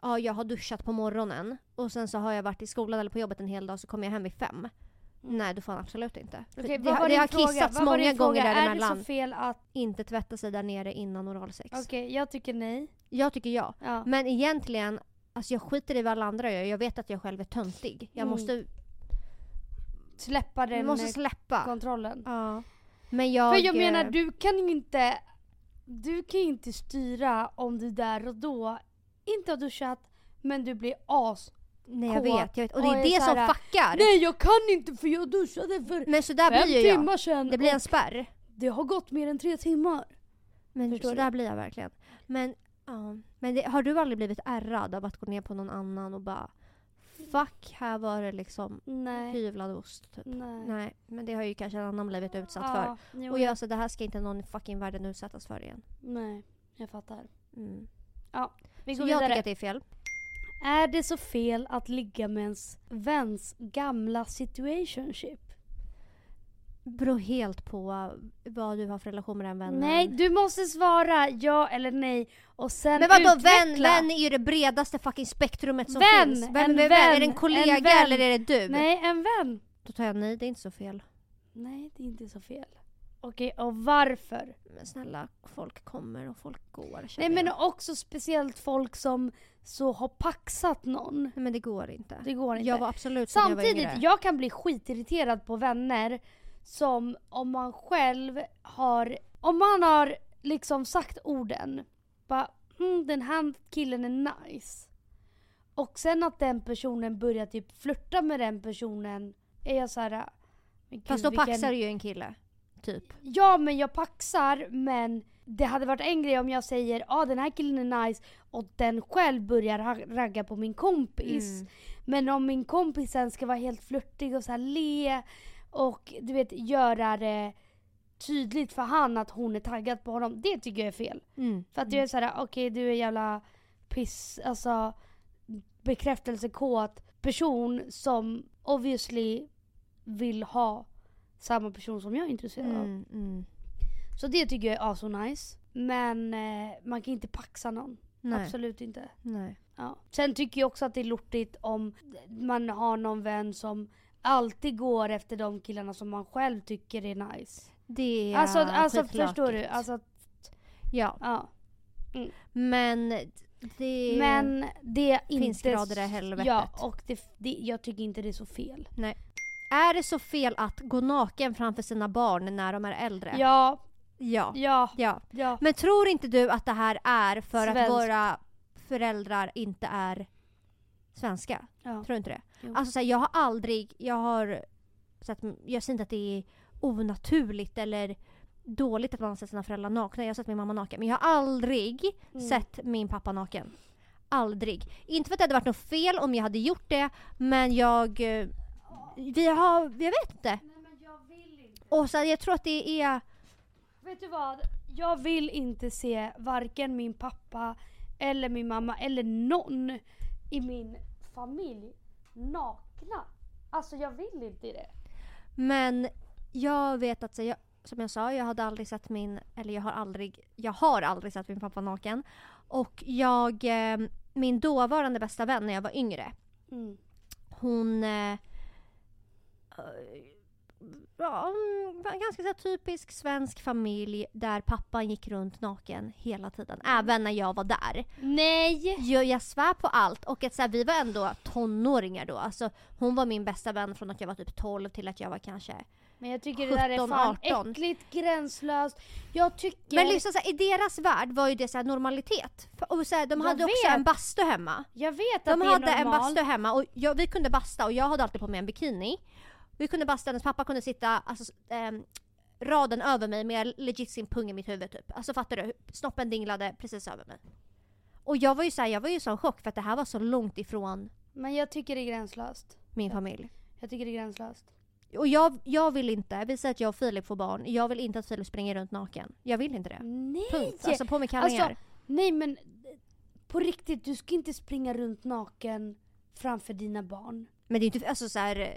A: ja jag har duschat på morgonen och sen så har jag varit i skolan eller på jobbet en hel dag så kommer jag hem vid fem. Nej, då får han absolut inte. För
B: Mm. Okej,
A: det,
B: vad
A: har-
B: var
A: det
B: din
A: har
B: fråga?
A: kissats
B: Vad var
A: många
B: din fråga?
A: gånger
B: Är det
A: däremellan.
B: så fel att...
A: Inte tvätta sig där nere innan oralsex.
B: Okej, jag tycker nej. Mm.
A: Jag tycker ja.
B: Ja.
A: Men egentligen, alltså jag skiter i vad alla andra gör. Jag vet att jag själv är töntig. Jag
B: Mm.
A: måste,
B: Släppa den
A: måste
B: eh,
A: släppa.
B: kontrollen.
A: Ja. Men jag...
B: För jag menar,
A: eh,
B: du kan ju inte... Du kan ju inte styra om du där och då inte har duschat, men du blir as.
A: Nej jag
B: kåt.
A: vet, jag vet. Och det
B: Och
A: är
B: är
A: det Mm.
B: så
A: som
B: här,
A: fuckar.
B: Nej, jag kan inte för jag duschade för
A: Men sådär
B: fem
A: blir ju jag.
B: timmar sedan.
A: Det blir en
B: och
A: spärr.
B: det har gått mer än tre timmar.
A: Men
B: Förstår
A: så
B: du?
A: där blir jag verkligen. Men Ja. Men det, har du aldrig blivit ärrad av att gå ner på någon annan och bara Fuck, här var det liksom
B: Nej.
A: hyvlad ost typ.
B: Nej.
A: Nej, men det har ju kanske en annan blivit utsatt för.
B: Ja, jo,
A: Och jag, så det här ska inte någon i fucking världen utsättas för igen.
B: Nej, jag fattar.
A: Mm.
B: Vi
A: Så
B: går
A: jag
B: vidare.
A: tycker att det är fel.
B: Är det så fel att ligga med ens väns gamla situationship?
A: Beror helt på vad du har för relation med den vännen.
B: Nej, du måste svara ja eller nej och sen
A: Men vadå vän?
B: utveckla.
A: Vän är ju det bredaste fucking spektrumet som
B: Vän,
A: finns.
B: en
A: är Är
B: vän,
A: det en
B: en
A: kollega
B: vän.
A: eller är det du?
B: Nej, en vän.
A: Då tar jag nej, det är inte så fel.
B: Nej, det är inte så fel. Okej, och varför?
A: Men snälla, folk kommer och folk går. känner
B: Nej men
A: jag.
B: också speciellt folk som så har paxat någon.
A: nej men det går inte.
B: Det går inte.
A: Jag var absolut så när
B: Samtidigt,
A: jag var
B: jag,
A: yngre.
B: kan bli skitirriterad på vänner som om man själv har, om man har liksom sagt orden, bara mm, den här killen är nice. Och sen att den personen börjar typ flirta med den personen, är jag såhär, men gud,
A: Fast då
B: vilken-
A: paxar ju en kille. Typ.
B: Ja men jag paxar men det hade varit en grej om jag säger ja ah, den här killen är nice och den själv börjar ha- ragga på min kompis.
A: Mm.
B: Men om min kompis sen ska vara helt flörtig och så här le och du vet göra det tydligt för han att hon är taggad på honom. Det tycker jag är fel.
A: Mm.
B: För att du är såhär, okej du är jävla piss, alltså bekräftelsekåt person som obviously vill ha samma person som jag är intresserad av.
A: Mm, mm.
B: Så det tycker jag är aso nice. Men eh, man kan inte paxa någon.
A: Nej,
B: Absolut inte.
A: nej.
B: Ja. Sen tycker jag också att det är lortigt om man har någon vän som alltid går efter de killarna som man själv tycker är nice.
A: Det är
B: alltså alltså
A: skitlökigt.
B: förstår du? Alltså,
A: Ja,
B: ja.
A: men det...
B: Men det är inte...
A: Finns grader i helvetet.
B: Ja, och det, det, jag tycker inte det är så fel.
A: Är det så fel att gå naken framför sina barn när de är äldre?
B: Ja,
A: Ja.
B: ja,
A: ja.
B: ja.
A: Men tror inte du att det här är för att
B: Svenskt.
A: våra föräldrar inte är svenska?
B: Ja.
A: Tror du inte det?
B: Jo.
A: Alltså så här, jag har aldrig, jag har så att, jag ser inte att det är onaturligt eller dåligt att man har sett sina föräldrar nakna. Jag har sett min mamma naken. Men jag har aldrig
B: Mm.
A: sett min pappa naken. Aldrig. Inte för att det hade varit något fel om jag hade gjort det, men jag... eh, Vi har... Jag vet inte.
B: Nej, men jag vill inte.
A: Och så här, jag tror att det är...
B: Vet du vad? Jag vill inte se varken min pappa eller min mamma eller någon i min familj nakna. Alltså jag vill inte det.
A: Men jag vet att, så jag, som jag sa, jag hade aldrig sett min, eller jag har aldrig, jag har aldrig sett min pappa naken. Och jag, eh, min dåvarande bästa vän när jag var yngre,
B: Mm.
A: hon... Eh, eh, ja, hon var en ganska så här, typisk svensk familj där pappan gick runt naken hela tiden. Även när jag var där.
B: Nej!
A: Jag, jag svär på allt. Och att så här, vi var ändå tonåringar då. Alltså, hon var min bästa vän från att jag var typ 12 till att jag var kanske...
B: Men jag tycker det där är
A: 17,
B: fan
A: 18.
B: äckligt, gränslöst. Jag tycker...
A: Men liksom, så här, i deras värld var ju det så här, normalitet. För- Och så här, de
B: Jag
A: hade också
B: vet.
A: en bastu hemma.
B: jag vet att
A: De
B: det är
A: hade
B: normalt.
A: en bastu hemma och jag, vi kunde basta och jag hade alltid på mig en bikini. Vi kunde basta, hennes pappa kunde sitta alltså, ehm, raden över mig med legit sin pung i mitt huvud typ. Alltså fattar du? Snoppen dinglade precis över mig. Och jag var ju så här, jag var ju i sån chock för att det här var så långt ifrån
B: Men jag tycker det är gränslöst.
A: min familj.
B: Jag tycker det är gränslöst.
A: Och jag, jag vill inte, vi säger att jag och Filip får barn, jag vill inte att Filip springer runt naken. Jag vill inte det.
B: Nej!
A: Punkt. Alltså på med kallingar.
B: Alltså, nej men på riktigt, du ska inte springa runt naken framför dina barn.
A: Men det är inte, alltså så här, eh,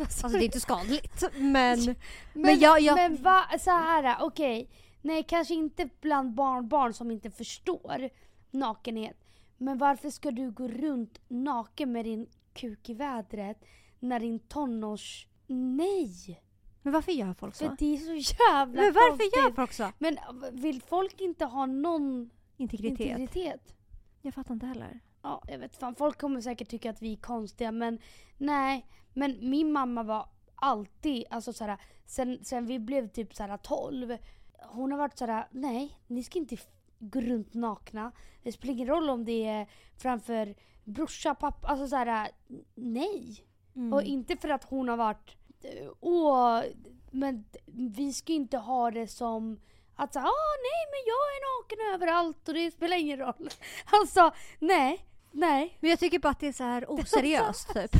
A: alltså det är inte skadligt. Men, men,
B: Men,
A: jag, jag
B: men va, så här, okej. Nej, kanske inte bland barnbarn som inte förstår nakenhet. Men varför ska du gå runt naken med din kuk i vädret när din tonårs... Nej!
A: men varför gör folk
B: För
A: så?
B: det är så jävla
A: Men varför gör
B: konstigt.
A: folk så?
B: Men äh, vill folk inte ha någon
A: Integritet.
B: integritet?
A: Jag fattar inte heller.
B: Ja, jag vet fan. Folk kommer säkert tycka att vi är konstiga men nej. Men min mamma var alltid, alltså såhär, sen, sen vi blev typ såhär 12. Hon har varit såhär, nej ni ska inte f- gå runt nakna. Det spelar ingen roll om det är framför brorsa, pappa, alltså såhär, nej.
A: Mm.
B: Och inte för att hon har varit, eh, åh, men vi ska inte ha det som Att säga, ah nej men jag är naken överallt och det spelar ingen roll. Han sa, nej, nej.
A: Men jag tycker bara att det är så här oseriöst typ.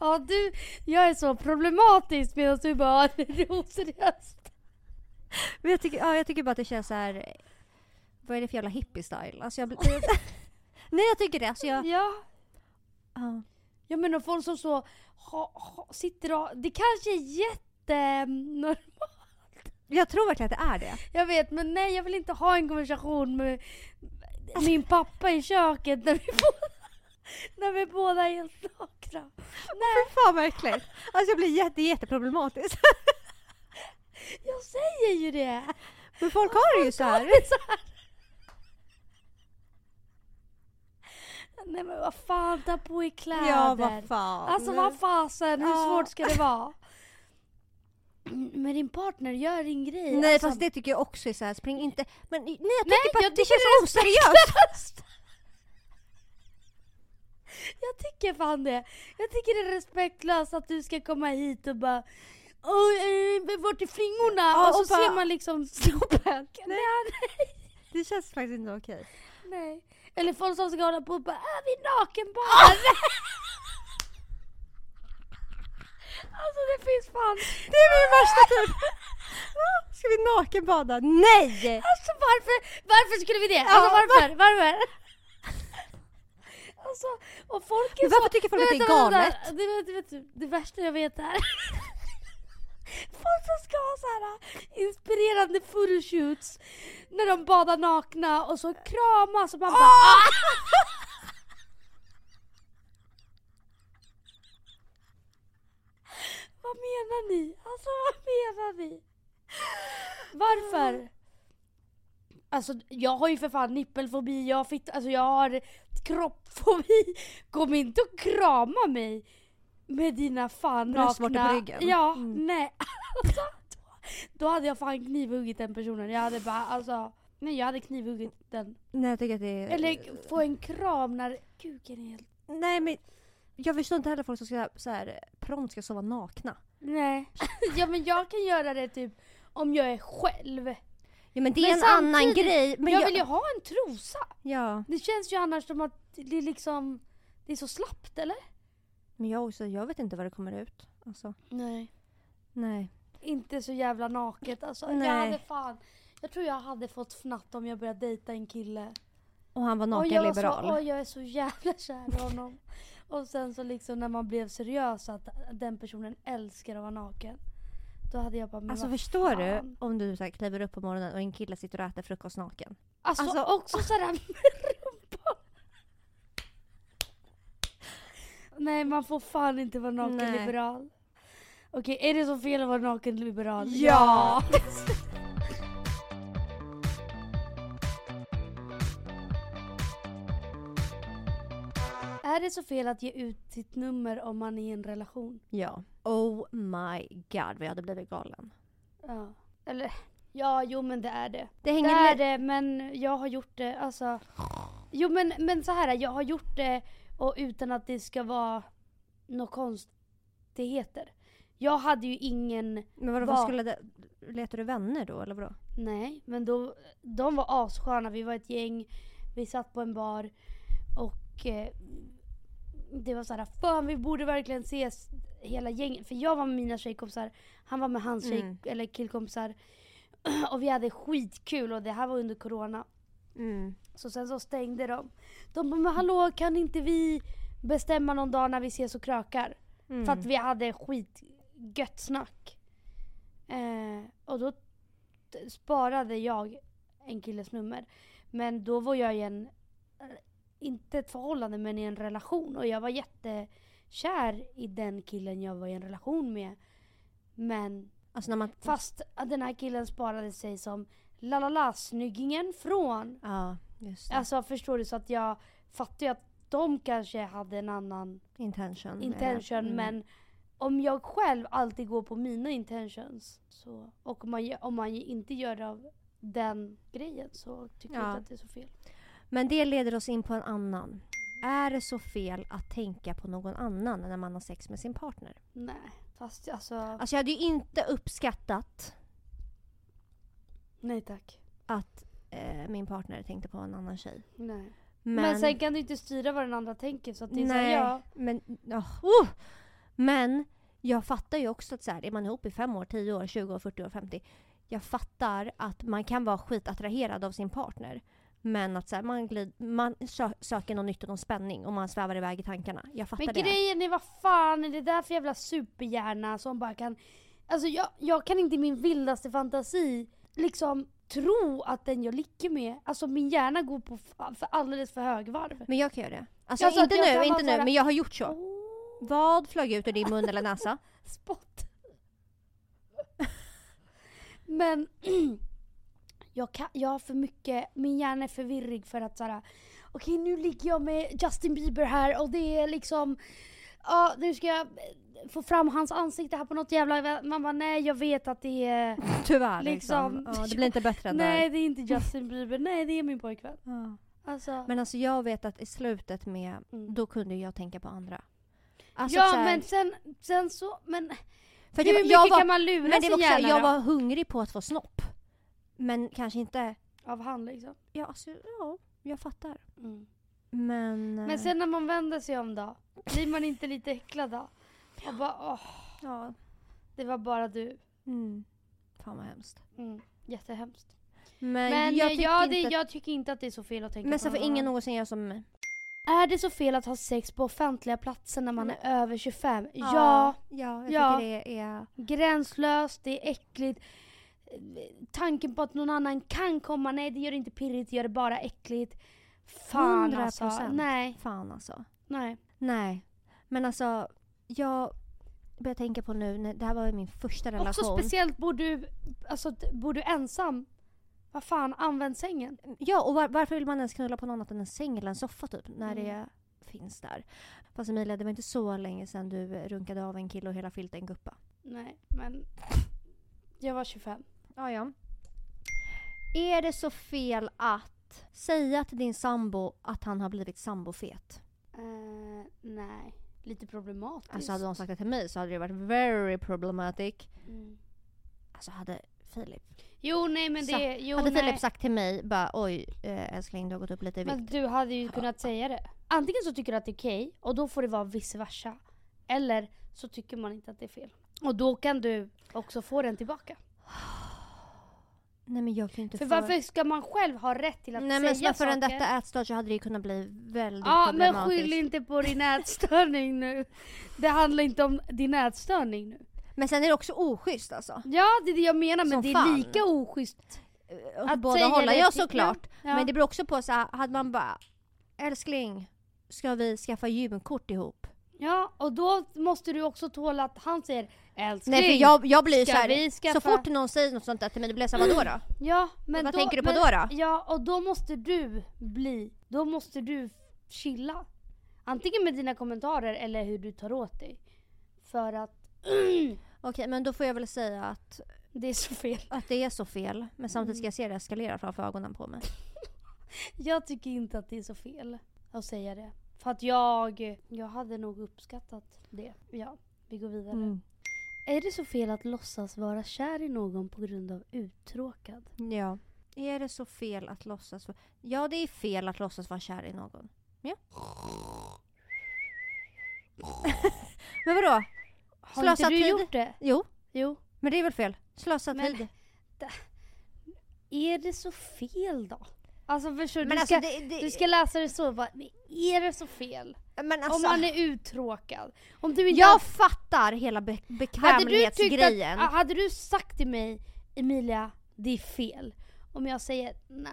B: Ja du, jag är så problematisk medan du bara, "Ah, det är oseriöst.
A: Men jag tycker, ja, jag tycker bara att det känns så här. eh, Vad är det för jävla hippie-style? Alltså jag blir... Nej jag tycker det. Alltså jag...
B: Ja.
A: Ja.
B: Jag menar folk som så ha, ha, sitter och... Det kanske är mm, jättenormalt.
A: Jag tror verkligen att det är det.
B: Jag vet men nej jag vill inte ha en konversation med min pappa i köket när vi båda, när vi båda är helt nakna.
A: Nej. Fy fan vad äckligt. Alltså jag blir jätte, jätteproblematisk.
B: Jag säger ju det!
A: Men folk har det ju så här.
B: Det är så här. Nej men vad fan, ta på er kläder.
A: Ja vad fan.
B: Alltså vad fasen, hur
A: Ja.
B: svårt ska det vara? Men din partner gör din grej.
A: Nej
B: alltså,
A: fast det tycker jag också är så här. spring inte. Men nej jag tycker
B: Nej,
A: bara
B: jag
A: att det
B: tycker
A: känns
B: det är
A: oseriöst.
B: Jag tycker fan det. Jag tycker det är respektlöst att du ska komma hit och bara Oj, eh, vart är flingorna?
A: Ja,
B: och så
A: och bara-
B: ser man liksom snoppen. Nej, nej,
A: Det känns faktiskt inte okej.
B: nej. Eller folk som ska hålla på och bara äh, vi är
A: Ah!
B: nakenbad. alltså det finns fan.
A: Det är min värsta typ. Ah, Ska vi nakenbada? Nej!
B: Alltså varför, varför skulle vi det? Alltså
A: Ja,
B: varför, varför? Alltså, och folk är
A: Men varför
B: så...
A: tycker folk
B: Men
A: att det är
B: vänta,
A: galet?
B: vänta. Det, det, vet du, det värsta jag vet är folk som ska ha så här äh, inspirerande photoshoots när de badar nakna och så kramas och man bara ah! Vad menar ni? Alltså vad menar ni? Varför? Alltså jag har ju för fan nippelfobi, jag har fitt, alltså jag har kroppfobi. Kom inte och krama mig med dina fan
A: Bröstvårtor på ryggen.
B: Ja, nej. Alltså, då, då hade jag fan knivhuggit den personen. Jag hade bara alltså, nej jag hade knivhuggit den.
A: Nej jag tycker att det är...
B: Eller få en kram när kuken är helt...
A: Nej men jag förstår inte heller folk som ska så här, prompt ska sova nakna.
B: Nej. ja men jag kan göra det typ om jag är själv.
A: Ja men det är
B: Men
A: en
B: samtidigt-
A: annan grej. Men
B: jag, vill ju ha en trosa.
A: ja.
B: Det känns ju annars som att det är liksom, det är så slappt eller?
A: Men jag också, jag vet inte vad det kommer ut. Alltså,
B: Nej.
A: nej.
B: Inte så jävla naket alltså.
A: Nej.
B: Jag hade fan, jag tror jag hade fått fnatt om jag började dejta en kille.
A: Och han var
B: och jag var
A: nakenliberal.
B: Så, och jag är så jävla kär i honom. och sen så liksom när man blev seriös att den personen älskar att vara naken. Då hade jag bara, men
A: Alltså
B: vad
A: förstår
B: fan.
A: du om du så här, kliver upp på morgonen och en kille sitter och äter frukost naken?
B: Alltså,
A: Alltså,
B: också sådär med rumpan. Nej man får fan inte vara nakenliberal. Okej, är det så fel att vara nakenliberal?
A: Ja.
B: Ja. är det så fel att ge ut sitt nummer om man är i en relation?
A: Ja. Oh my god vad jag hade blivit galen.
B: Ja. Eller? Ja, jo men det är det.
A: Det
B: Det
A: hänger
B: är
A: med.
B: det, men jag har gjort det alltså. Jo men, men så här, jag har gjort det och utan att det ska vara några konstigheter. Jag hade ju ingen,
A: Men vadå,
B: Vad?
A: vad skulle det... Letar du vänner då eller vadå?
B: nej, men då, de var assköna. Vi var ett gäng, vi satt på en bar och eh, det var så här, fan vi borde verkligen ses hela gänget. För jag var med mina tjejkompisar, han var med hans tjej,
A: Mm.
B: eller killkompisar. Och vi hade skitkul och det här var under corona.
A: Mm.
B: Så sen så stängde de. De bara, men hallå kan inte vi bestämma någon dag när vi ses och krökar?
A: Mm.
B: För att vi hade skitgött snack. Eh, och då t- sparade jag en killes nummer. Men då var jag i en, eh, inte ett förhållande men i en relation. Och jag var jättekär i den killen jag var i en relation med. Men
A: Alltså när man...
B: fast att den här killen sparade sig som la la la snyggingen från
A: Ja, just det.
B: Alltså förstår du? Så att jag fattar ju att de kanske hade en annan
A: Intention. menar jag.
B: intention
A: Mm.
B: men om jag själv alltid går på mina intentions så, och om man, gö- om man inte gör det av den grejen så tycker jag
A: Ja.
B: inte att det är så fel.
A: Men det leder oss in på en annan. Är det så fel att tänka på någon annan när man har sex med sin partner?
B: Nej, fast alltså...
A: Alltså jag hade ju inte uppskattat
B: Nej tack.
A: att eh, min partner tänkte på en annan tjej.
B: Nej.
A: Men,
B: Men, sen kan du inte styra vad den andra tänker så att det är såhär,
A: Nej,
B: ja.
A: men, åh,
B: Uh!
A: oh! men jag fattar ju också att så här, är man ihop i 5 år, 10 år, 20 år, 40 år, 50. Jag fattar att man kan vara skitattraherad av sin partner. Men att så här, man, glid, man sö- söker någon nytta, någon spänning och man svävar iväg i tankarna. Jag fattar
B: Men
A: det.
B: grejen är vad fan är det där för jävla superhjärna som bara kan... Alltså jag, jag kan inte i min vildaste fantasi liksom tro att den jag ligger med, alltså min hjärna går på fa- för alldeles för högvarv.
A: Men jag kan göra det. Alltså,
B: Jag sa
A: inte
B: att Oh. jag kan
A: nu, inte
B: vara så
A: nu,
B: här-
A: men jag har gjort så.
B: Åh,
A: Vad flög ut ur din mun eller näsa?
B: Spott. Men jag, kan, jag har för mycket, min hjärna är för virrig för att såhär, okej nu ligger jag med Justin Bieber här och det är liksom, ja nu ska jag få fram hans ansikte här på något jävla, man bara nej jag vet att det är,
A: Tyvärr liksom.
B: Liksom.
A: Ja, det blir inte bättre
B: nej
A: där.
B: det är inte Justin Bieber, nej det är min pojkvän.
A: Ja.
B: Alltså,
A: Men alltså jag vet att i slutet med,
B: Mm.
A: då kunde jag tänka på andra. Alltså
B: ja
A: så här-
B: men sen, sen så, men
A: för att
B: hur
A: jag,
B: mycket
A: jag var,
B: kan man lura
A: men det var
B: sin
A: också, så här,
B: hjärna
A: jag
B: då?
A: var hungrig på att få snopp. Men kanske inte,
B: Av han liksom.
A: ja alltså ja, jag fattar.
B: Mm.
A: Men, eh,
B: Men sen när man vänder sig om då? Blir man inte lite äcklad då? Och bara åh,
A: ja.
B: det var bara du.
A: Mm. Fan vad hemskt.
B: Mm. Jättehemskt.
A: Men,
B: Men
A: jag
B: jag,
A: tycker
B: ja,
A: inte
B: det,
A: att-
B: jag tycker inte att det är så fel att tänka
A: Men
B: på
A: så får
B: någon
A: ingen
B: annan.
A: någonsin göra som mig.
B: Är det så fel att ha sex på offentliga platser när man
A: Nej.
B: är över 25? Ja.
A: Mm. Ja, jag
B: Ja.
A: tycker det är...
B: Gränslöst, det är äckligt. Tanken på att någon annan kan komma, nej det gör det inte pirrigt, det gör det bara äckligt. Fan
A: 100%.
B: alltså. Nej,
A: Fan alltså.
B: nej.
A: Nej. Men alltså, jag börjar tänka på nu, när- det här var ju min första relation.
B: Också speciellt bor du, alltså, d- bor du ensam. Vad fan, använd sängen.
A: Ja, och var, varför vill man ens knulla på någon annat än en säng eller en soffa typ, när
B: Mm.
A: det finns där? Fast Emilia, det var inte så länge sedan du eh, runkade av en kille och hela filten guppa.
B: Nej, men jag var 25.
A: Ja, ja. Är det så fel att säga till din sambo att han har blivit sambofet?
B: Eh, nej, lite problematiskt.
A: Alltså hade de sagt det till mig så hade det varit very problematic.
B: Mm.
A: Alltså hade Filip,
B: Jo, nej men
A: Sa-
B: det... Jo,
A: hade
B: nej.
A: Filip sagt till mig bara oj eh, älskling du har gått upp lite i vikt.
B: men du hade ju kunnat säga det. Antingen så tycker du att det är okej och då får det vara vice versa. Eller så tycker man inte att det är fel. Och då kan du också få den tillbaka.
A: Nej men jag kan ju inte
B: För varför ska man själv ha rätt till att
A: Nej
B: säga
A: men snarare förrän
B: saker?
A: detta ätstört så hade det ju kunnat bli väldigt
B: Ja men
A: problematiskt.
B: skyll inte på din ätstörning nu. Det handlar inte om din ätstörning nu.
A: Men sen är det också oschysst alltså.
B: Ja det är det jag menar men
A: Som
B: det är
A: fan.
B: lika oschysst.
A: Att
B: Att
A: båda
B: säga
A: hålla
B: det
A: jag
B: till-
A: såklart.
B: Ja.
A: Men det beror också på så här, hade man bara älskling, ska vi skaffa gymkort ihop?
B: ja och då måste du också tåla att han säger älskling.
A: Nej för jag, jag blir
B: ska
A: så här,
B: vi
A: så
B: skaffa-
A: fort någon säger något sånt där till mig då blir jag såhär vadå då?
B: Ja, men
A: Vad
B: då,
A: tänker du på
B: men,
A: då då?
B: Ja och då måste du bli, då måste du chilla. Antingen med dina kommentarer eller hur du tar åt dig. För att
A: Okej men då får jag väl säga att,
B: det är så fel.
A: att det är så fel men samtidigt ska jag se det eskalera framför ögonen på mig.
B: Jag tycker inte att det är så fel att säga det. För att jag, jag hade nog uppskattat det. Ja, vi går vidare.
A: Mm.
B: Är det så fel att låtsas vara kär i någon på grund av uttråkad?
A: Mm, Ja. Är det så fel att låtsas vara... Ja det är fel att låtsas vara kär i någon. Ja. men vadå?
B: Har
A: Slösa
B: inte du
A: tid.
B: gjort det?
A: Jo,
B: Jo.
A: men det är väl fel? Slösa
B: Men-
A: tid.
B: Är det så fel då? Alltså förstår du?
A: Men
B: du
A: alltså,
B: ska-
A: det, det,
B: Du ska läsa det så, bara, men är det så fel?
A: men alltså,
B: Om man är uttråkad. Om du inte
A: jag fattar hela be
B: hade du tyckt att,
A: bekvämlighetsgrejen.
B: hade du sagt till mig Emilia, det är fel. Om jag säger nej,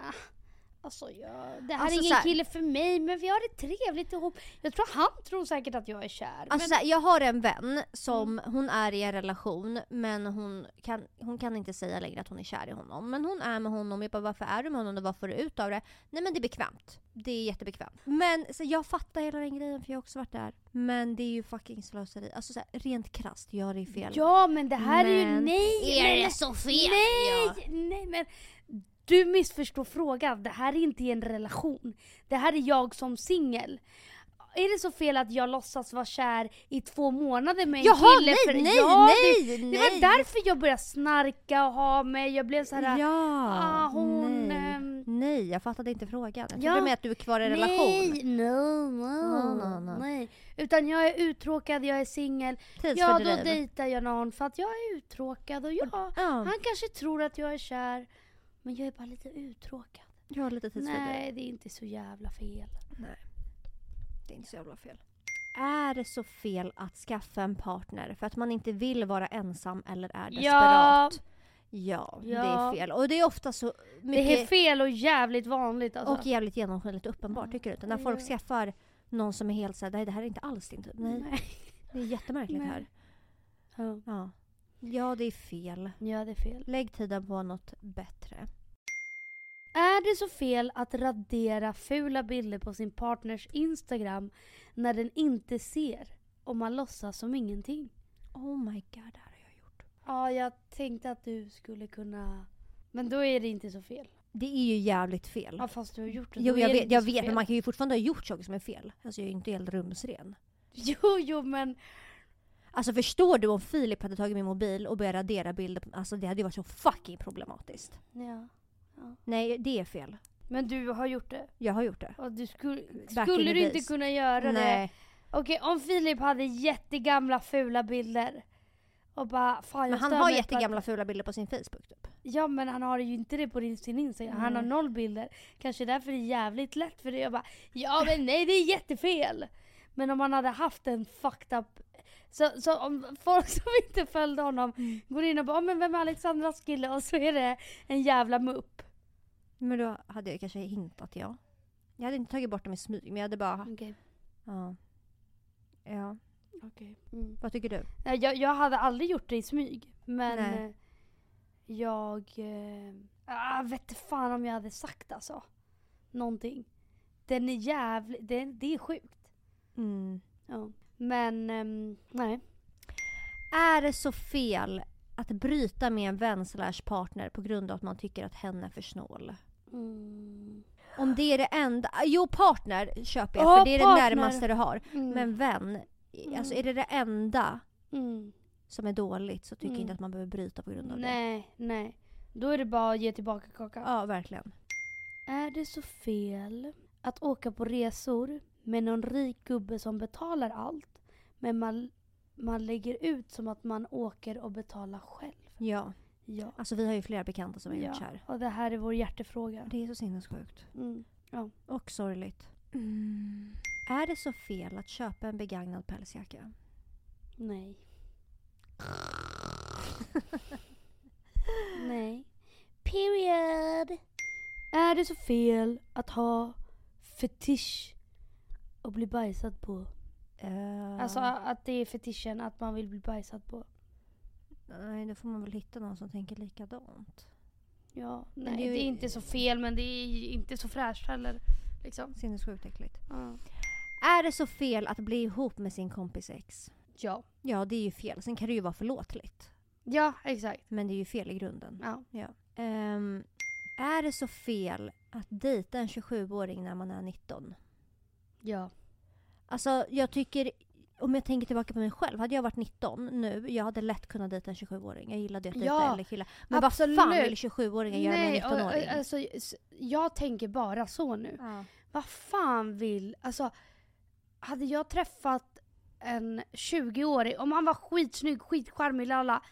B: alltså jag, det här
A: Alltså, så
B: är ingen
A: här-
B: kille för mig men vi har det trevligt ihop. Jag tror han tror säkert att jag är kär.
A: Alltså,
B: men,
A: såhär, jag har en vän som,
B: Mm.
A: hon är i en relation men hon kan, hon kan inte säga längre att hon är kär i honom. Men hon är med honom, jag bara varför är du med honom och vad får du ut av det? Nej men det är bekvämt. Det är jättebekvämt. Men så, jag fattar hela den grejen för jag har också varit där. Men det är ju fucking slöseri. Alltså såhär, rent krasst, ja det är fel.
B: ja men det här är ju
A: Men-
B: nej.
A: Är
B: men,
A: det så fel? Ja.
B: Nej, nej men du missförstår frågan. Det här är inte en relation. Det här är jag som singel. är det så fel att jag låtsas vara kär i två månader med en
A: Jaha,
B: kille?
A: nej, nej, nej,
B: det, det
A: nej.
B: var därför jag började snarka och ha mig, jag blev så här.
A: ja,
B: ah, hon,
A: nej.
B: ehm,
A: nej, jag fattade inte frågan. Jag trodde
B: Ja,
A: med att du är kvar i en relation.
B: Nej, no, no,
A: No, no, no.
B: nej. Utan jag är uttråkad, jag är singel. Ja, då
A: Tidsfördriv.
B: dejtar jag någon för att jag är uttråkad och ja,
A: Ja,
B: han kanske tror att jag är kär. Men jag är bara lite uttråkad.
A: jag har lite tidsfördriv.
B: Nej, det är inte så jävla fel.
A: Det är inte så jävla fel. Är det så fel att skaffa en partner för att man inte vill vara ensam eller är
B: Ja.
A: desperat? Ja, det
B: Ja.
A: är fel. Och det är ofta så
B: Det är
A: mycket
B: fel och jävligt vanligt alltså. Mm.
A: och jävligt genomskinligt och uppenbart, tycker du inte? När folk
B: Ja.
A: skaffar någon som är helt såhär, nej det här är inte alls din typ. Nej,
B: Nej.
A: det är jättemärkligt
B: Nej.
A: här.
B: Ja.
A: Ja. ja, det är fel.
B: Ja, det är fel.
A: Lägg tiden på något bättre.
B: Är det så fel att radera fula bilder på sin partners Instagram när den inte ser? Om man låtsas som ingenting?
A: Oh my god, det här har jag gjort.
B: Ja, jag tänkte att du skulle kunna... Men då är det inte så fel.
A: Det är ju jävligt fel.
B: Ja, fast du har gjort det.
A: jo,
B: Då
A: jag
B: är det
A: vet,
B: inte
A: jag
B: så
A: vet
B: fel.
A: men man kan ju fortfarande ha gjort saker som är fel. Alltså jag är ju inte helt rumsren.
B: Jo, jo, men...
A: Alltså förstår du om Filip hade tagit min mobil och börjat radera bilder? på- Alltså det hade ju varit så fucking problematiskt.
B: Ja.
A: Nej, det är fel.
B: Men du har gjort det.
A: Jag har gjort det.
B: Och du skulle,
A: Back in
B: skulle
A: the
B: du inte
A: days.
B: kunna göra det?
A: Nej.
B: Okej, om Filip hade jättegamla fula bilder och bara fan jag
A: Men han
B: stör
A: har
B: mig på att-
A: jättegamla fula bilder på sin Facebook typ.
B: Ja men han har ju inte det på din- sin Instagram, han har
A: Nej.
B: noll bilder. Kanske därför det är jävligt lätt för dig att bara ja men nej det är jättefel. Men om han hade haft en fucked up så, så om folk som inte följde honom
A: Mm.
B: går in och bara "Ja, men vem är Alexandras kille? Och så är det en jävla mupp.
A: Men då hade jag kanske hintat ja. Jag hade inte tagit bort dem i smyg men jag hade bara...
B: Okej.
A: Ja. Ja.
B: Mm.
A: Vad tycker du?
B: Nej, Jag, jag hade aldrig gjort det i smyg. Men
A: Nej.
B: eh, jag... Eh, ah, vet inte fan om jag hade sagt alltså. Någonting. Den är jävligt... Det, det är sjukt.
A: Mm.
B: Ja. Men ehm, nej.
A: Är det så fel att bryta med en vän slash partner på grund av att man tycker att hen är för snål?
B: Mm.
A: Om det är det enda... Jo, partner köper jag
B: Ja,
A: för det är
B: partner.
A: det närmaste du har.
B: Mm.
A: Men vän,
B: Mm.
A: alltså är det det enda
B: mm.
A: som är dåligt så tycker jag
B: Mm.
A: inte att man behöver bryta på grund av det.
B: Nej, nej. Då är det bara att ge tillbaka kakan.
A: Ja, verkligen.
B: Är det så fel att åka på resor med någon rik gubbe som betalar allt men man, man lägger ut som att man åker och betalar själv?
A: Ja,
B: Ja.
A: alltså vi har ju flera bekanta som har gjort så
B: ja.
A: här.
B: Och det här är vår hjärtefråga.
A: Det är så sinnessjukt.
B: Mm.
A: Och sorgligt. Är det så fel att köpa en begagnad pälsjacka?
B: Nej. Nej. Period. Är det så fel att ha fetisch och bli bajsad på?
A: Eh,
B: Alltså att det är fetischen att man vill bli bajsad på.
A: Nej, då får man väl hitta någon som tänker likadant.
B: Ja,
A: Men
B: nej, det,
A: det är ju-
B: är inte så fel men det är ju inte så fräscht heller. Liksom.
A: Sinnessjukt äckligt. Är det så fel att bli ihop med sin kompis ex?
B: Ja.
A: Ja, det är ju fel. Sen kan det ju vara förlåtligt.
B: Ja, exakt.
A: Men det är ju fel i grunden.
B: Ja.
A: Ehm, är det så fel att dejta en 27-åring när man är 19?
B: Ja.
A: Alltså jag tycker, om jag tänker tillbaka på mig själv, hade jag varit 19 nu, jag hade lätt kunnat dejta en 27-åring. Jag gillade ju att dejta
B: Ja,
A: äldre killar. Men
B: absolut.
A: vad fan vill 27-åringar göra med en
B: och, och,
A: 19-åring?
B: alltså, s- jag tänker bara så nu.
A: ja.
B: Vad fan vill... Alltså, hade jag träffat en 20-årig, om han var skitsnygg, skitcharmig, lalla.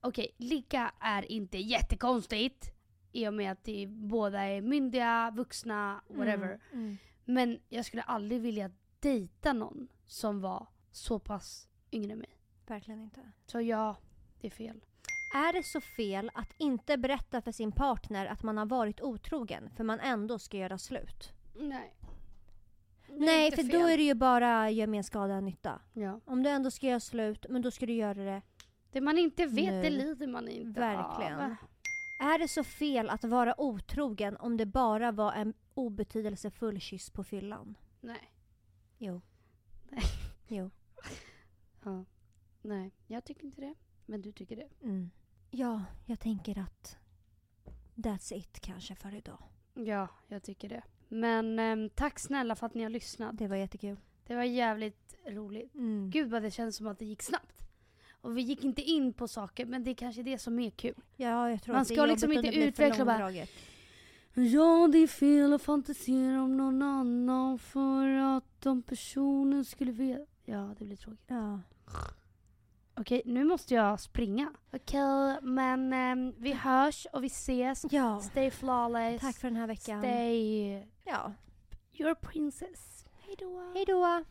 B: Okej, ligga är inte jättekonstigt. I och med att de båda är myndiga, vuxna, whatever.
A: Mm.
B: Men jag skulle aldrig vilja dejta någon som var så pass yngre än mig.
A: Verkligen inte.
B: Så ja, det är fel.
A: Är det så fel att inte berätta för sin partner att man har varit otrogen för man ändå ska göra slut?
B: Nej.
A: Nej, för då är det ju bara gör mer skada än nytta.
B: Ja.
A: Om du ändå ska göra slut, men då ska du göra det
B: Det man inte vet,
A: Nu.
B: det lider man inte
A: Verkligen.
B: av.
A: Är det så fel att vara otrogen om det bara var en obetydelsefull kyss på fyllan?
B: Nej.
A: Jo.
B: Nej.
A: Jo.
B: Ja. Nej, jag tycker inte det. Men du tycker det.
A: Mm. Ja, jag tänker att that's it kanske för idag.
B: Ja, jag tycker det. Men ehm, tack snälla för att ni har lyssnat.
A: Det var jättekul.
B: Det var jävligt roligt.
A: Mm.
B: Gud vad det känns som att det gick snabbt. Och vi gick inte in på saker, men det är kanske det som är kul.
A: Ja, jag tror
B: Man
A: att det är
B: ska liksom
A: jobbigt om
B: inte
A: det blir för
B: utveckla bara-
A: långdraget.
B: Ja, det är fel att fantisera om någon annan för att de personen skulle veta. Ja, det blir tråkigt.
A: Ja.
B: Okej, nu måste jag springa. Okej, men ehm, vi hörs och vi ses.
A: ja,
B: Stay flawless.
A: tack för den här veckan.
B: Stay
A: Ja.
B: your princess.
A: Hej då. Hej då.